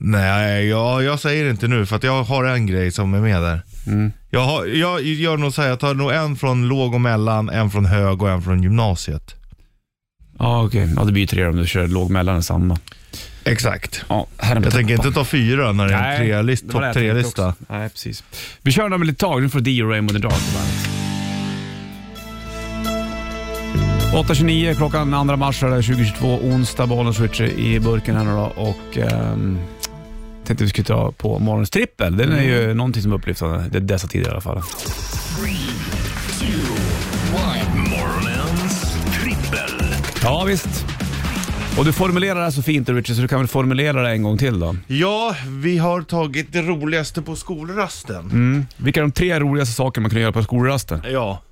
[SPEAKER 3] Nej, jag, jag säger inte nu för att jag har en grej som är med där.
[SPEAKER 2] Mm.
[SPEAKER 3] Jag, har, jag gör nog så här, jag tar nog en från låg och mellan, en från hög och en från gymnasiet.
[SPEAKER 2] Ja, okej. Ja, det blir ju tre om du kör låg mellan och samma.
[SPEAKER 3] Exakt.
[SPEAKER 2] Ja, här är
[SPEAKER 3] Jag tänker inte ta fyra när det är en tre-list,
[SPEAKER 2] det var
[SPEAKER 3] topp
[SPEAKER 2] det jag tänkte
[SPEAKER 3] tre-lista.
[SPEAKER 2] också. Nej, precis. Vi kör dem ett litet tag. Nu får Dio Raymond the Dark på bandet. 8.29 klockan 2 mars är det 2022, onsdag, Bollnäs Richie i burken här nu då och ehm, tänkte vi skulle ta på morgonens trippel. Den är
[SPEAKER 3] Mm.
[SPEAKER 2] ju någonting som är upplyftande, det är dessa tider i alla fall.
[SPEAKER 1] Morgonens trippel.
[SPEAKER 2] Ja visst. Och du formulerar det här så fint Richie, så du kan väl formulera det en gång till då.
[SPEAKER 3] Ja, vi har tagit det roligaste på skolrasten.
[SPEAKER 2] Vilka är de tre roligaste sakerna man kan göra på skolrasten?
[SPEAKER 3] Ja,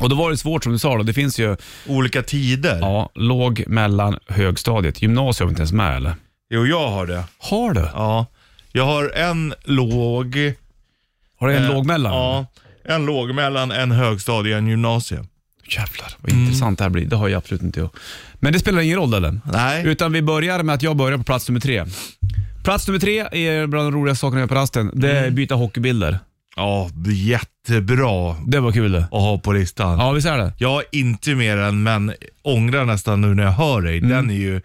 [SPEAKER 2] Och då var det svårt som du sa då, det finns ju
[SPEAKER 3] olika tider.
[SPEAKER 2] Ja, låg, mellan, högstadiet. Gymnasiet har vi inte ens med eller?
[SPEAKER 3] Jo, jag har det.
[SPEAKER 2] Har du?
[SPEAKER 3] Ja. Jag har en låg...
[SPEAKER 2] Har du en
[SPEAKER 3] eh,
[SPEAKER 2] låg mellan?
[SPEAKER 3] Ja, en låg mellan, en högstadie, en gymnasie.
[SPEAKER 2] Jävlar vad intressant det här blir. Det har jag absolut inte jag. Men det spelar ingen roll eller?
[SPEAKER 3] Nej.
[SPEAKER 2] Utan vi börjar med att jag börjar på plats nummer tre. Plats nummer tre är bland de roligaste sakerna jag gör på rasten. Det är
[SPEAKER 3] Mm.
[SPEAKER 2] byta hockeybilder.
[SPEAKER 3] Ja, jättebra att
[SPEAKER 2] Det var kul det.
[SPEAKER 3] ha på listan.
[SPEAKER 2] Ja, visst är det?
[SPEAKER 3] Jag har inte mer än, men ångrar nästan nu när jag hör dig. Den är ju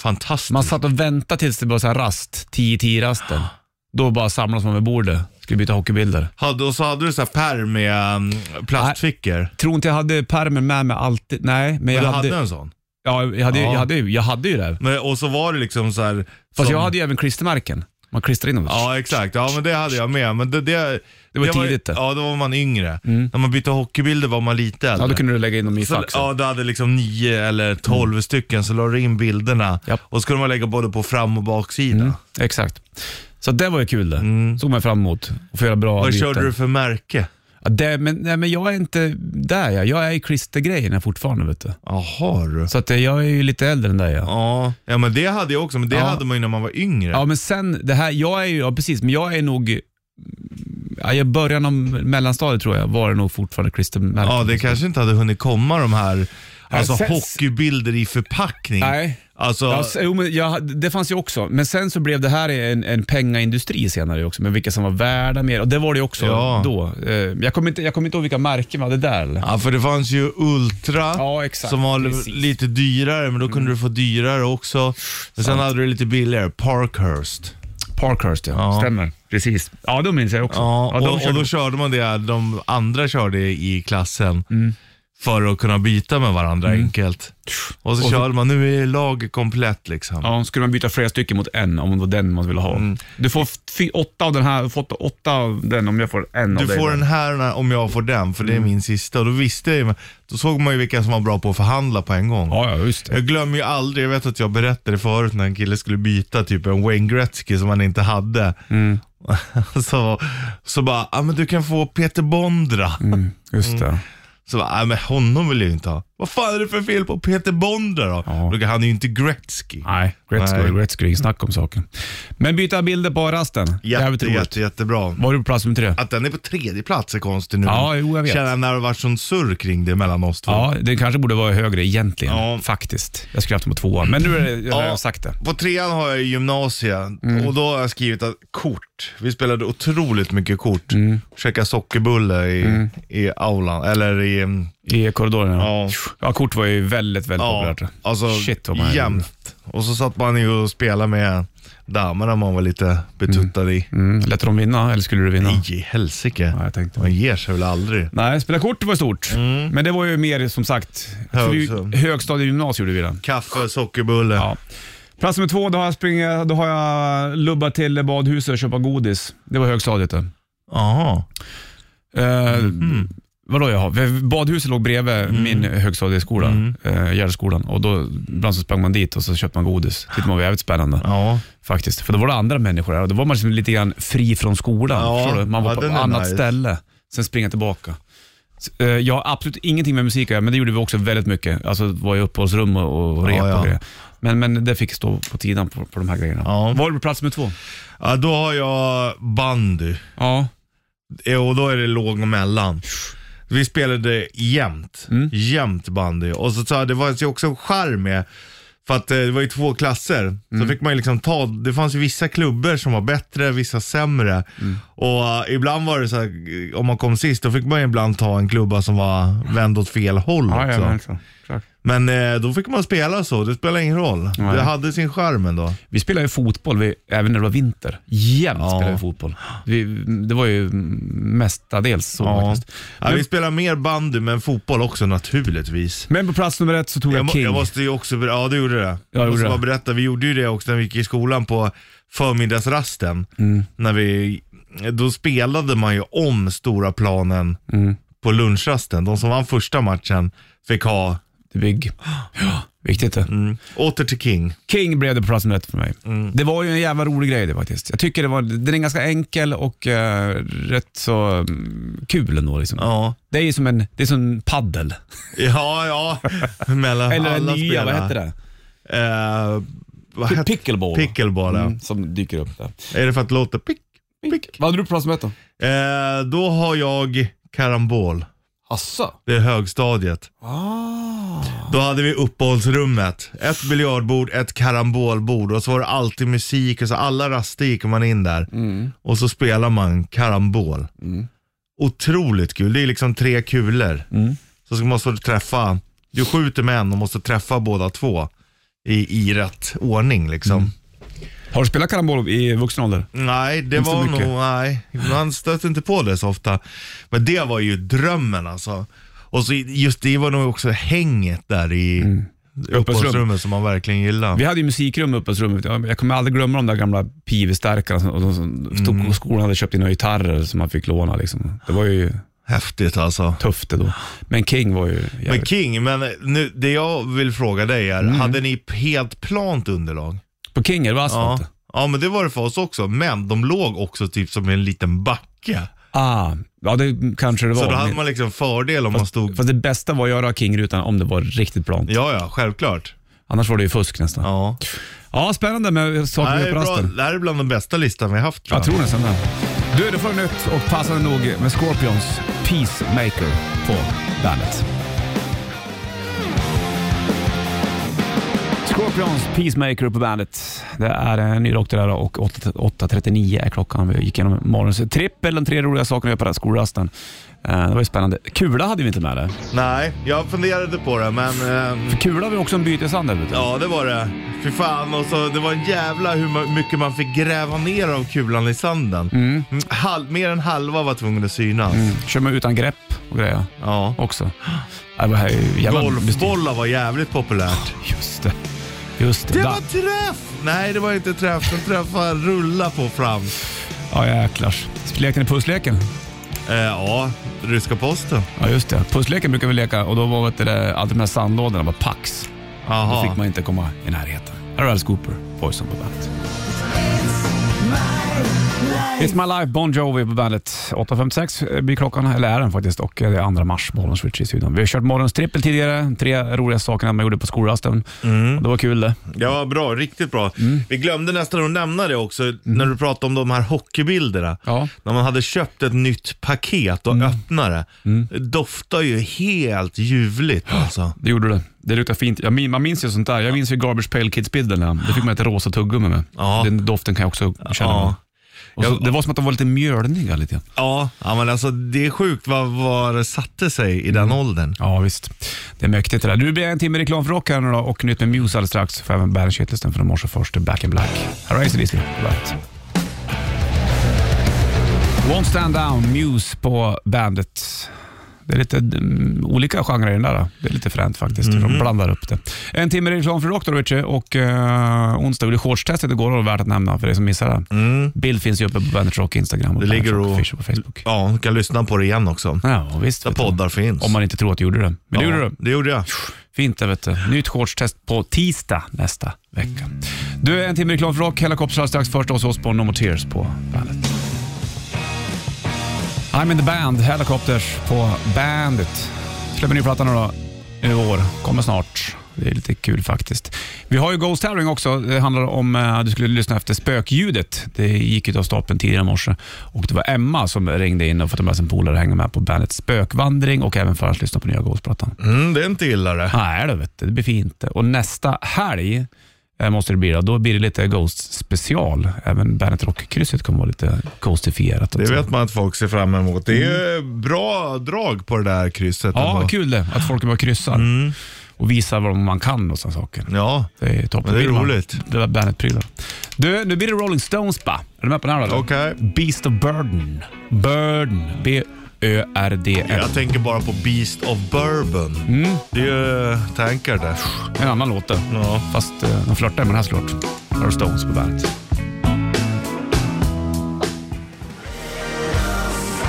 [SPEAKER 3] fantastisk.
[SPEAKER 2] Man satt och väntade tills det var så här rast, 10-10-rasten. Då bara samlas man vid bordet, skulle byta hockeybilder.
[SPEAKER 3] Hade, och så hade du så här pärm med um, plastfickor.
[SPEAKER 2] Tror inte jag hade pärmen med mig alltid. Nej, men jag
[SPEAKER 3] Du
[SPEAKER 2] hade...
[SPEAKER 3] hade en sån.
[SPEAKER 2] Ja, jag hade,
[SPEAKER 3] Ja.
[SPEAKER 2] Jag, hade, ju- jag hade ju det.
[SPEAKER 3] Men, och så var det liksom så här...
[SPEAKER 2] Fast
[SPEAKER 3] som-
[SPEAKER 2] jag hade ju även klistermärken. Man klistrar in dem.
[SPEAKER 3] Ja, exakt. Ja, men det hade jag med. Men det, det,
[SPEAKER 2] Det var
[SPEAKER 3] jag
[SPEAKER 2] tidigt det. Ja.
[SPEAKER 3] Ja, då var man yngre. När man bytte hockeybilder var man lite äldre.
[SPEAKER 2] då kunde du lägga in dem i
[SPEAKER 3] Så,
[SPEAKER 2] faxen.
[SPEAKER 3] ja, du hade liksom nio eller tolv stycken, så la du in bilderna.
[SPEAKER 2] Mm. Japp. Mm.
[SPEAKER 3] Och så kunde man lägga både på fram och baksida.
[SPEAKER 2] Exakt. Så det var ju kul det. Såg man fram emot. Att få göra bra
[SPEAKER 3] Mm. Vad
[SPEAKER 2] byten.
[SPEAKER 3] körde du för märke?
[SPEAKER 2] Ja, det, men, nej, men jag är inte där jag. Jag är i Christer-grejerna fortfarande vet du.
[SPEAKER 3] Jaha du.
[SPEAKER 2] Så att, eh, jag är ju lite äldre än dig ja.
[SPEAKER 3] Ja. ja, men det hade jag också, men det
[SPEAKER 2] Ja.
[SPEAKER 3] hade man ju när man var yngre.
[SPEAKER 2] Ja men sen det här, jag är ju, ja precis, men jag är nog, ja, i början av mellanstadiet tror jag var det nog fortfarande Christer Mellberg.
[SPEAKER 3] Ja, det kanske inte hade hunnit komma de här alltså,
[SPEAKER 2] sen-
[SPEAKER 3] hockeybilder i förpackning.
[SPEAKER 2] Nej.
[SPEAKER 3] Alltså,
[SPEAKER 2] Ja, s- jo, men jag, det fanns ju också, men sen så blev det här en, en pengaindustri senare också, med vilka som var värda mer. Och det var det ju också
[SPEAKER 3] Ja.
[SPEAKER 2] då. Eh, Jag kommer inte, jag kommer inte ihåg vilka märken vi hade där. eller?
[SPEAKER 3] ja, för det fanns ju Ultra
[SPEAKER 2] Ja, exakt,
[SPEAKER 3] som var li-
[SPEAKER 2] precis. Mm.
[SPEAKER 3] lite dyrare, men då kunde du få dyrare också. Men sen hade du lite billigare, Parkhurst.
[SPEAKER 2] Parkhurst ja.
[SPEAKER 3] Ja.
[SPEAKER 2] stämmer. Precis. Ja, de minns jag också.
[SPEAKER 3] Ja,
[SPEAKER 2] de
[SPEAKER 3] och,
[SPEAKER 2] körde-
[SPEAKER 3] och då körde man det de andra körde i klassen.
[SPEAKER 2] Mm.
[SPEAKER 3] För att kunna byta med varandra enkelt. Och så, körde man, nu är laget komplett liksom.
[SPEAKER 2] Ja, skulle man byta flera stycken mot en om det var den man ville ha.
[SPEAKER 3] Mm.
[SPEAKER 2] Du får fy, åtta av den här, du får åtta- åtta av den om jag får en av
[SPEAKER 3] Du
[SPEAKER 2] dig.
[SPEAKER 3] får
[SPEAKER 2] då.
[SPEAKER 3] den här när- om jag får den, för det är
[SPEAKER 2] Mm.
[SPEAKER 3] min sista. Och då visste jag ju, då såg man ju vilka som var bra på att förhandla på en gång.
[SPEAKER 2] Ja, ja, just det.
[SPEAKER 3] Jag glömmer ju aldrig, jag vet att jag berättade förut när en kille skulle byta typ en Wayne Gretzky som han inte hade.
[SPEAKER 2] Mm.
[SPEAKER 3] så, så bara, ah, men du kan få Peter Bondra.
[SPEAKER 2] Mm. Just det.
[SPEAKER 3] Så bara, ah, men honom vill jag ju inte ha. Vad fan är det för fel på Peter Bondra då?
[SPEAKER 2] Ja.
[SPEAKER 3] Då han är ju inte Gretzky.
[SPEAKER 2] Nej, Gretzky,
[SPEAKER 3] Nej.
[SPEAKER 2] Gretzky, inget snack om saken. Men byta bilder på rasten. Jävligt
[SPEAKER 3] Jätte,
[SPEAKER 2] roligt.
[SPEAKER 3] jätte, jättebra.
[SPEAKER 2] Var du på plats nummer tre?
[SPEAKER 3] Att den är på tredje plats är konstigt nu.
[SPEAKER 2] Ja, jo, jag vet.
[SPEAKER 3] Känner när det har varit sån surr kring det mellan oss två.
[SPEAKER 2] Ja, den kanske borde vara högre egentligen,
[SPEAKER 3] Ja.
[SPEAKER 2] faktiskt. Jag skulle haft den på tvåa, men nu är det, jag har jag sagt det.
[SPEAKER 3] På trean har jag gymnasiet
[SPEAKER 2] Mm.
[SPEAKER 3] och då har jag skrivit att kort. Vi spelade otroligt mycket kort.
[SPEAKER 2] Mm.
[SPEAKER 3] Käkade sockerbulle i, i aulan, eller i... mm,
[SPEAKER 2] I korridoren, ja.
[SPEAKER 3] Ja.
[SPEAKER 2] ja. Kort var ju väldigt, väldigt
[SPEAKER 3] Ja,
[SPEAKER 2] populärt.
[SPEAKER 3] alltså
[SPEAKER 2] Shit vad man
[SPEAKER 3] jämt. Och så satt man ju och spelade med damerna man var lite betuttad i.
[SPEAKER 2] Mm, lät de vinna, eller skulle du vinna?
[SPEAKER 3] Nej, i helsike.
[SPEAKER 2] Ja, jag tänkte.
[SPEAKER 3] Man ger sig väl aldrig.
[SPEAKER 2] Nej, spela kort var stort.
[SPEAKER 3] Mm.
[SPEAKER 2] Men det var ju mer som sagt,
[SPEAKER 3] Högstad-
[SPEAKER 2] fly- högstadiegymnasium gjorde vi den.
[SPEAKER 3] Kaffe, sockerbulle.
[SPEAKER 2] Ja. Plats nummer två, då har jag, springa, då har jag lubbat till badhuset och köpa godis. Det var högstadiet det.
[SPEAKER 3] Jaha.
[SPEAKER 2] Eh,
[SPEAKER 3] Mm.
[SPEAKER 2] Vadå jag har? Badhuset låg bredvid min högstadieskola,
[SPEAKER 3] Mm.
[SPEAKER 2] eh, Gärdsskolan. Och då ibland så sprang man dit och så köpte man godis. Det var jävligt spännande
[SPEAKER 3] Ja.
[SPEAKER 2] faktiskt. För då var det andra människor där och då var man liksom lite grann fri från skolan.
[SPEAKER 3] Ja,
[SPEAKER 2] förstår du? Man var
[SPEAKER 3] ja,
[SPEAKER 2] på ett
[SPEAKER 3] den är
[SPEAKER 2] annat
[SPEAKER 3] nice.
[SPEAKER 2] ställe, sen springa tillbaka. Så, eh, Jag har absolut ingenting med musik att göra, men det gjorde vi också väldigt mycket. Alltså var i uppehållsrum och, och rep
[SPEAKER 3] Ja, ja.
[SPEAKER 2] och grejer. Men, men det fick stå på tiden på, på de här grejerna.
[SPEAKER 3] Ja.
[SPEAKER 2] Var du på plats med två?
[SPEAKER 3] ja. Då har jag bandy.
[SPEAKER 2] Ja.
[SPEAKER 3] Ja, och då är det låg och mellan. Vi spelade jämt,
[SPEAKER 2] Mm.
[SPEAKER 3] jämt bandy. Och så, så det var ju också en charm med, för att eh, det var ju två klasser.
[SPEAKER 2] Mm.
[SPEAKER 3] Så fick man ju liksom ta, det fanns ju vissa klubbor som var bättre, vissa sämre.
[SPEAKER 2] Mm.
[SPEAKER 3] Och eh, ibland var det så här, eh, om man kom sist, då fick man ju ibland ta en klubba som var vänd åt fel håll
[SPEAKER 2] Ja,
[SPEAKER 3] också.
[SPEAKER 2] ja, men, exakt.
[SPEAKER 3] men eh, då fick man spela så, det spelar ingen roll.
[SPEAKER 2] Nej.
[SPEAKER 3] Det hade sin charm ändå.
[SPEAKER 2] Vi spelade ju fotboll vi, även när det var vinter. Jämt
[SPEAKER 3] Ja.
[SPEAKER 2] spelade vi fotboll. Vi, det var ju mestadels så
[SPEAKER 3] Ja.
[SPEAKER 2] faktiskt.
[SPEAKER 3] Ja, vi
[SPEAKER 2] Men,
[SPEAKER 3] spelar mer bandy, men fotboll också naturligtvis.
[SPEAKER 2] men på plats nummer ett så tog jag,
[SPEAKER 3] Jag, må,
[SPEAKER 2] King.
[SPEAKER 3] jag måste ju också, ber- ja du gjorde det.
[SPEAKER 2] gjorde
[SPEAKER 3] Jag måste
[SPEAKER 2] det.
[SPEAKER 3] bara berätta, vi gjorde ju det också när vi gick i skolan på förmiddagsrasten.
[SPEAKER 2] Mm.
[SPEAKER 3] När vi, då spelade man ju om stora planen
[SPEAKER 2] Mm.
[SPEAKER 3] på lunchrasten. De som vann första matchen fick ha,
[SPEAKER 2] The Big. Ja, viktigt det.
[SPEAKER 3] mm, åter till King.
[SPEAKER 2] King blev det på plats nummer ett för mig. Det var ju en jävla rolig grej det faktiskt. Jag tycker det var, den är ganska enkel och eh, rätt så mm, kul ändå. Liksom.
[SPEAKER 3] Ja,
[SPEAKER 2] Det är ju som en, det är som en paddel.
[SPEAKER 3] ja, ja. Mellan
[SPEAKER 2] Eller en
[SPEAKER 3] alla
[SPEAKER 2] nya, vad
[SPEAKER 3] spelarna.
[SPEAKER 2] heter det?
[SPEAKER 3] Eh, vad
[SPEAKER 2] Typ
[SPEAKER 3] hette-
[SPEAKER 2] pickleball.
[SPEAKER 3] Pickleball, ja.
[SPEAKER 2] Mm, som dyker upp där.
[SPEAKER 3] Är det för att låta pick, pick?
[SPEAKER 2] Vad hade du på plats nummer ett då?
[SPEAKER 3] Eh, då har jag karambol.
[SPEAKER 2] Asså?
[SPEAKER 3] Det är högstadiet.
[SPEAKER 2] Ah.
[SPEAKER 3] Då hade vi uppehållsrummet. Ett biljardbord, ett karambolbord och så var det alltid musik. Och så alla raster gick man in där och så spelar man karambol. Otroligt kul. Det är liksom tre kulor. Så ska man så träffa, du skjuter med en och måste träffa båda två i, i rätt ordning liksom.
[SPEAKER 2] Har du spelat karambol i vuxen ålder?
[SPEAKER 3] Nej, det
[SPEAKER 2] Inte så
[SPEAKER 3] var
[SPEAKER 2] mycket.
[SPEAKER 3] nog, nej. Man stötte inte på det så ofta. Men det var ju drömmen alltså. Och så just det var nog också hänget där i uppehållsrummet som man verkligen gillar.
[SPEAKER 2] Mm. Vi hade ju musikrum i uppehållsrummet. Jag jag kommer aldrig glömma de där gamla pivstärkarna. som- och de som stod
[SPEAKER 3] Mm.
[SPEAKER 2] på skolan hade köpt in några gitarrer som man fick låna. Liksom. Det var ju
[SPEAKER 3] Häftigt alltså.
[SPEAKER 2] tufft det då. Men King var ju
[SPEAKER 3] Men
[SPEAKER 2] jävligt...
[SPEAKER 3] King, men nu, det jag vill fråga dig
[SPEAKER 2] Mm.
[SPEAKER 3] är, hade ni helt plant underlag?
[SPEAKER 2] På King, är det var asfalt?
[SPEAKER 3] Ja. ja, men det var det för oss också. Men de låg också typ som i en liten backe.
[SPEAKER 2] Ah, ja, det kanske det var.
[SPEAKER 3] Så då hade
[SPEAKER 2] Men-
[SPEAKER 3] man liksom fördel om man stod...
[SPEAKER 2] Fast det bästa var att göra King-rutan om det var riktigt plant.
[SPEAKER 3] Ja, ja, självklart.
[SPEAKER 2] Annars var det ju fusk nästan. Ja,
[SPEAKER 3] Ja.
[SPEAKER 2] spännande med
[SPEAKER 3] Det
[SPEAKER 2] saker
[SPEAKER 3] här,
[SPEAKER 2] vi gör
[SPEAKER 3] är
[SPEAKER 2] på
[SPEAKER 3] bra,
[SPEAKER 2] rasten.
[SPEAKER 3] det här är bland den bästa listan vi har haft
[SPEAKER 2] Jag
[SPEAKER 3] tror jag.
[SPEAKER 2] tror nästan det. Du, du får nytt och passande nog med Scorpions Peacemaker på bandet. Scorpions Peacemaker på bandet. Det är en ny rock det där och 8 8.39 är klockan. Vi gick igenom morgonens trippel, de tre roliga sakerna vi gör på den här skolrasten. Eh, Det var ju spännande. Kula hade vi inte med det.
[SPEAKER 3] Nej, jag funderade på det, men... ehm,
[SPEAKER 2] Kula var ju också en byteshandel. vet du.
[SPEAKER 3] Ja, det var det. Fy fan, och så, det var en jävla hur ma- mycket man fick gräva ner av kulan i sanden. Mm, Halv, mer än halva var tvungen att synas.
[SPEAKER 2] Kör man utan grepp och grejer
[SPEAKER 3] Ja.
[SPEAKER 2] också. Ja, Det var ju jävla
[SPEAKER 3] Golfbollar var jävligt populärt.
[SPEAKER 2] Just det. Just det.
[SPEAKER 3] Det
[SPEAKER 2] Da-
[SPEAKER 3] var träff! Nej, det var inte träff. Den träffade rulla på fram.
[SPEAKER 2] Ja, jäklar. Lekte ni pussleken?
[SPEAKER 3] Eh, ja, ryska posten.
[SPEAKER 2] Ja, just det. Pussleken brukar vi leka och då var vet du, det alltid de här sandlådorna var pax. Då
[SPEAKER 3] Jaha.
[SPEAKER 2] fick man inte komma i närheten. Här är Alice Cooper, Poison på bandet. It's my life, Bon Jovi på bandet. 8.56 blir klockan, eller är den faktiskt, och det är andra mars, Bollens Ritchie i studion. Vi har kört morgons trippel tidigare, tre roliga saker man gjorde på skolrasten.
[SPEAKER 3] Mm.
[SPEAKER 2] Och Det var kul det.
[SPEAKER 3] Det var bra, riktigt bra.
[SPEAKER 2] Mm.
[SPEAKER 3] Vi glömde nästan att nämna det också när du pratade om de här hockeybilderna.
[SPEAKER 2] Ja. Mm.
[SPEAKER 3] När man hade köpt ett nytt paket och öppnade det. Det doftar ju helt ljuvligt alltså.
[SPEAKER 2] Det gjorde det. Det luktar fint. Jag min, man minns ju sånt där. Jag minns ju Garbage Pail Kids-bilderna. Det fick man ett rosa tuggummi med.
[SPEAKER 3] Ja.
[SPEAKER 2] Den doften kan jag också känna.
[SPEAKER 3] Ja.
[SPEAKER 2] Ja. Och så,
[SPEAKER 3] Jag-
[SPEAKER 2] det var som att de var lite mjölniga lite grann.
[SPEAKER 3] Ja, ja men alltså det är sjukt vad, vad det satte sig i
[SPEAKER 2] Mm.
[SPEAKER 3] den åldern.
[SPEAKER 2] Ja, visst. Det är mäktigt det där. Nu blir det en timme reklam för rock här nu då och nytt med Muse alldeles strax. Får även bandshitlistan från morse först, Back in Black. Här har ACDC på bandet. Won't Stand Down, Muse på bandet. Det är lite mm, olika genrer i den där. då. Det är lite fränt faktiskt. De blandar upp det. En timme reklam för rock då, Richie. Och eh, onsdag gjorde shortstestet igår och det var värt att nämna för dig som missade det. Bild finns ju uppe på Bandet Rock Instagram Mm. och
[SPEAKER 3] Det
[SPEAKER 2] Bandet
[SPEAKER 3] ligger
[SPEAKER 2] Rock
[SPEAKER 3] och-
[SPEAKER 2] Official på Facebook.
[SPEAKER 3] Ja, du kan lyssna på det igen också.
[SPEAKER 2] Ja, visst.
[SPEAKER 3] Där
[SPEAKER 2] vet du.
[SPEAKER 3] poddar finns.
[SPEAKER 2] Om man inte tror att du gjorde det. Men det gjorde du.
[SPEAKER 3] Ja, det gjorde jag.
[SPEAKER 2] Fint det vet du. Nytt shortstest på tisdag nästa vecka. Du, en timme reklam för rock. Helikoptrar strax först hos oss på No More Tears på bandet. I'm in the band, Helicopters på bandet. Släpper ny platta nu då, i år. Kommer snart. Det är lite kul faktiskt. Vi har ju Ghost Herring också. Det handlar om eh, du skulle lyssna efter spökljudet. Det gick ju av stapeln tidigare i morse och det var Emma som ringde in och fått med sig en polare att hänga med på bandets spökvandring och även för att lyssna på nya Ghost-plattan.
[SPEAKER 3] Mm, det är inte illa det.
[SPEAKER 2] Nej då, vet du. det blir fint. Och nästa helg eh, måste det bli. Då, då blir det lite Ghost special. Även Bandet Rock-krysset kommer vara lite Ghostifierat.
[SPEAKER 3] Det vet man att folk ser fram emot. Det är ju bra drag på det där krysset.
[SPEAKER 2] Mm. Ja,
[SPEAKER 3] ändå.
[SPEAKER 2] kul det. Att folk bara kryssar
[SPEAKER 3] Mm.
[SPEAKER 2] och visar vad man kan och sådana saker.
[SPEAKER 3] Ja,
[SPEAKER 2] Det är toppen.
[SPEAKER 3] Men det är
[SPEAKER 2] Vill man-
[SPEAKER 3] roligt.
[SPEAKER 2] Det var Bandet-prylar. Du, nu blir det Rolling Stones ba. Är du med på den här då?
[SPEAKER 3] Okej.
[SPEAKER 2] Beast of Burden. Burden. B-Ö-R-D-N.
[SPEAKER 3] jag tänker bara på Beast of Bourbon. Det är ju tankar där.
[SPEAKER 2] En annan låt det.
[SPEAKER 3] Ja.
[SPEAKER 2] Fast eh, de flörtar med den här såklart. Rolling Stones på bandet.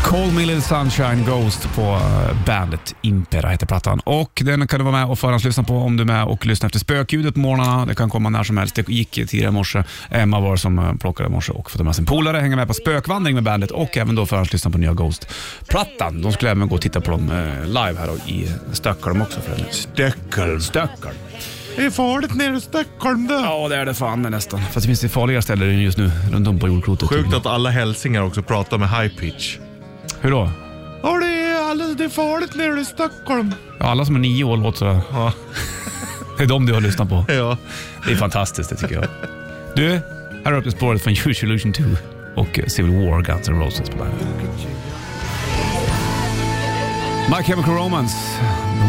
[SPEAKER 2] Call Me Little Sunshine Ghost på eh, bandet Impera heter plattan. Och Den kan du vara med och förhandslyssna på om du är med och lyssnar efter spökljudet på morgnarna. Det kan komma när som helst. Det gick tidigare i morse. Emma var som eh, plockade i morse och fått med sin polare, hänga med på spökvandring med bandet och även då förhandslyssna på nya Ghost-plattan. De skulle även gå och titta på dem eh, live här då i Stockholm också. För övrigt.
[SPEAKER 3] Stockholm.
[SPEAKER 2] Stockholm.
[SPEAKER 3] Det är farligt nere i Stockholm det.
[SPEAKER 2] Ja, det är det fan nästan. Fast det finns det farligare ställen just nu runt om på jordklotet.
[SPEAKER 3] Sjukt att alla hälsingar också pratar med high pitch.
[SPEAKER 2] Hur då?
[SPEAKER 3] Ja, det är, alldeles, det är farligt nere i Stockholm.
[SPEAKER 2] Ja, alla som är nio år låter sådär.
[SPEAKER 3] Ja.
[SPEAKER 2] Det är de du har lyssnat på.
[SPEAKER 3] Ja.
[SPEAKER 2] Det är fantastiskt det tycker jag. Du, här är uppe spåret från Huge Illusion 2 och Civil War Guns N' Roses på bandet. My Chemical Romance,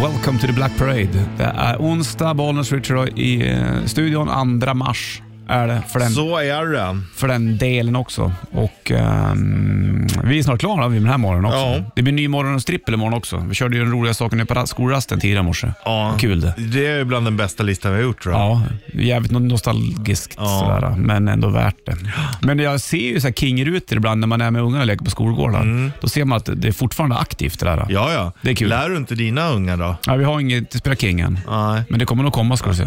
[SPEAKER 2] Welcome to the Black Parade. Det är onsdag, Bollnäs Richard i eh, studion 2 mars är det för den,
[SPEAKER 3] Så är det.
[SPEAKER 2] för den delen också. Och ehm, Vi är snart klara med den här morgonen också.
[SPEAKER 3] Ja.
[SPEAKER 2] Det blir ny morgon och strippel imorgon också. Vi körde ju den roliga saken nu på rast- skolrasten tidigare i morse.
[SPEAKER 3] Ja.
[SPEAKER 2] Kul det.
[SPEAKER 3] Det är ju bland den bästa listan vi har gjort tror jag.
[SPEAKER 2] Ja, jävligt no- nostalgiskt sådär, men ändå värt det. Men jag ser ju så här kingrutor ibland när man är med ungarna och leker på skolgårdar. Då ser man att det är fortfarande aktivt det där.
[SPEAKER 3] Mm. Ja, ja.
[SPEAKER 2] Det är kul.
[SPEAKER 3] Lär du inte dina ungar då?
[SPEAKER 2] Ja, vi har inget, spela King än.
[SPEAKER 3] Nej.
[SPEAKER 2] Men det kommer nog komma ska du se.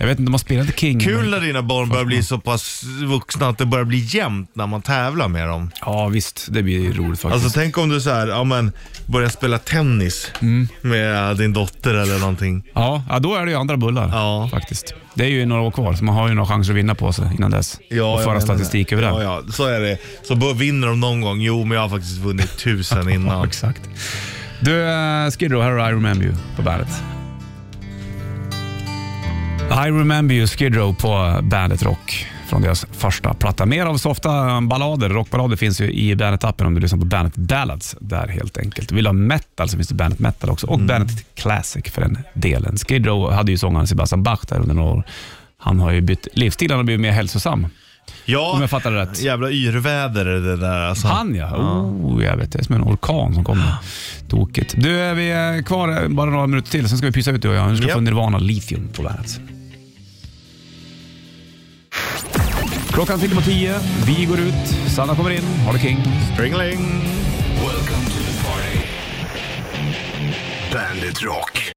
[SPEAKER 2] Jag vet inte om man spelade King.
[SPEAKER 3] Kul
[SPEAKER 2] men-
[SPEAKER 3] när dina barn börjar bli så pass vuxna att det börjar bli jämnt när man tävlar med dem.
[SPEAKER 2] Ja, visst. Det blir ju roligt faktiskt.
[SPEAKER 3] Alltså tänk om du så här, ja, men, börjar spela tennis
[SPEAKER 2] Mm.
[SPEAKER 3] med din dotter eller någonting.
[SPEAKER 2] ja, ja, då är det ju andra bullar
[SPEAKER 3] Ja.
[SPEAKER 2] faktiskt. Det är ju några år kvar, så man har ju några chanser att vinna på sig innan dess. och
[SPEAKER 3] jag
[SPEAKER 2] föra
[SPEAKER 3] menar
[SPEAKER 2] statistik
[SPEAKER 3] det.
[SPEAKER 2] över det.
[SPEAKER 3] Ja, ja, så är det. Så bör- vinner de någon gång. Jo, men jag har faktiskt vunnit tusen
[SPEAKER 2] Ja,
[SPEAKER 3] innan.
[SPEAKER 2] exakt. Du, eh, Skid Row, här har I Remember You på bandet. I Remember You, Skid Row på Bandet Rock från deras första platta. Mer av softa ballader, rockballader finns ju i Bandet-appen om du lyssnar på Bandet Ballads där helt enkelt. Vill du ha metal så finns det Bandet Metal också och Bandet Classic för den delen. Skid Row hade ju sångaren Sebastian Bach där under några år. Han har ju bytt livsstil, han har blivit mer hälsosam
[SPEAKER 3] Ja,
[SPEAKER 2] om jag fattar det rätt.
[SPEAKER 3] jävla yrväder är det där alltså.
[SPEAKER 2] Han ja. Oh, jag vet, det är som en orkan som kommer. Tokigt. Du, är vi är kvar bara några minuter till, sen ska vi pysa ut du och jag. Nu ska vi få
[SPEAKER 3] Japp.
[SPEAKER 2] Nirvana Lithium på bandet. Klockan tickar på tio. Vi går ut. Sanna kommer in. Ha det king.
[SPEAKER 3] Ringling.
[SPEAKER 1] Welcome to the party. Bandit Rock.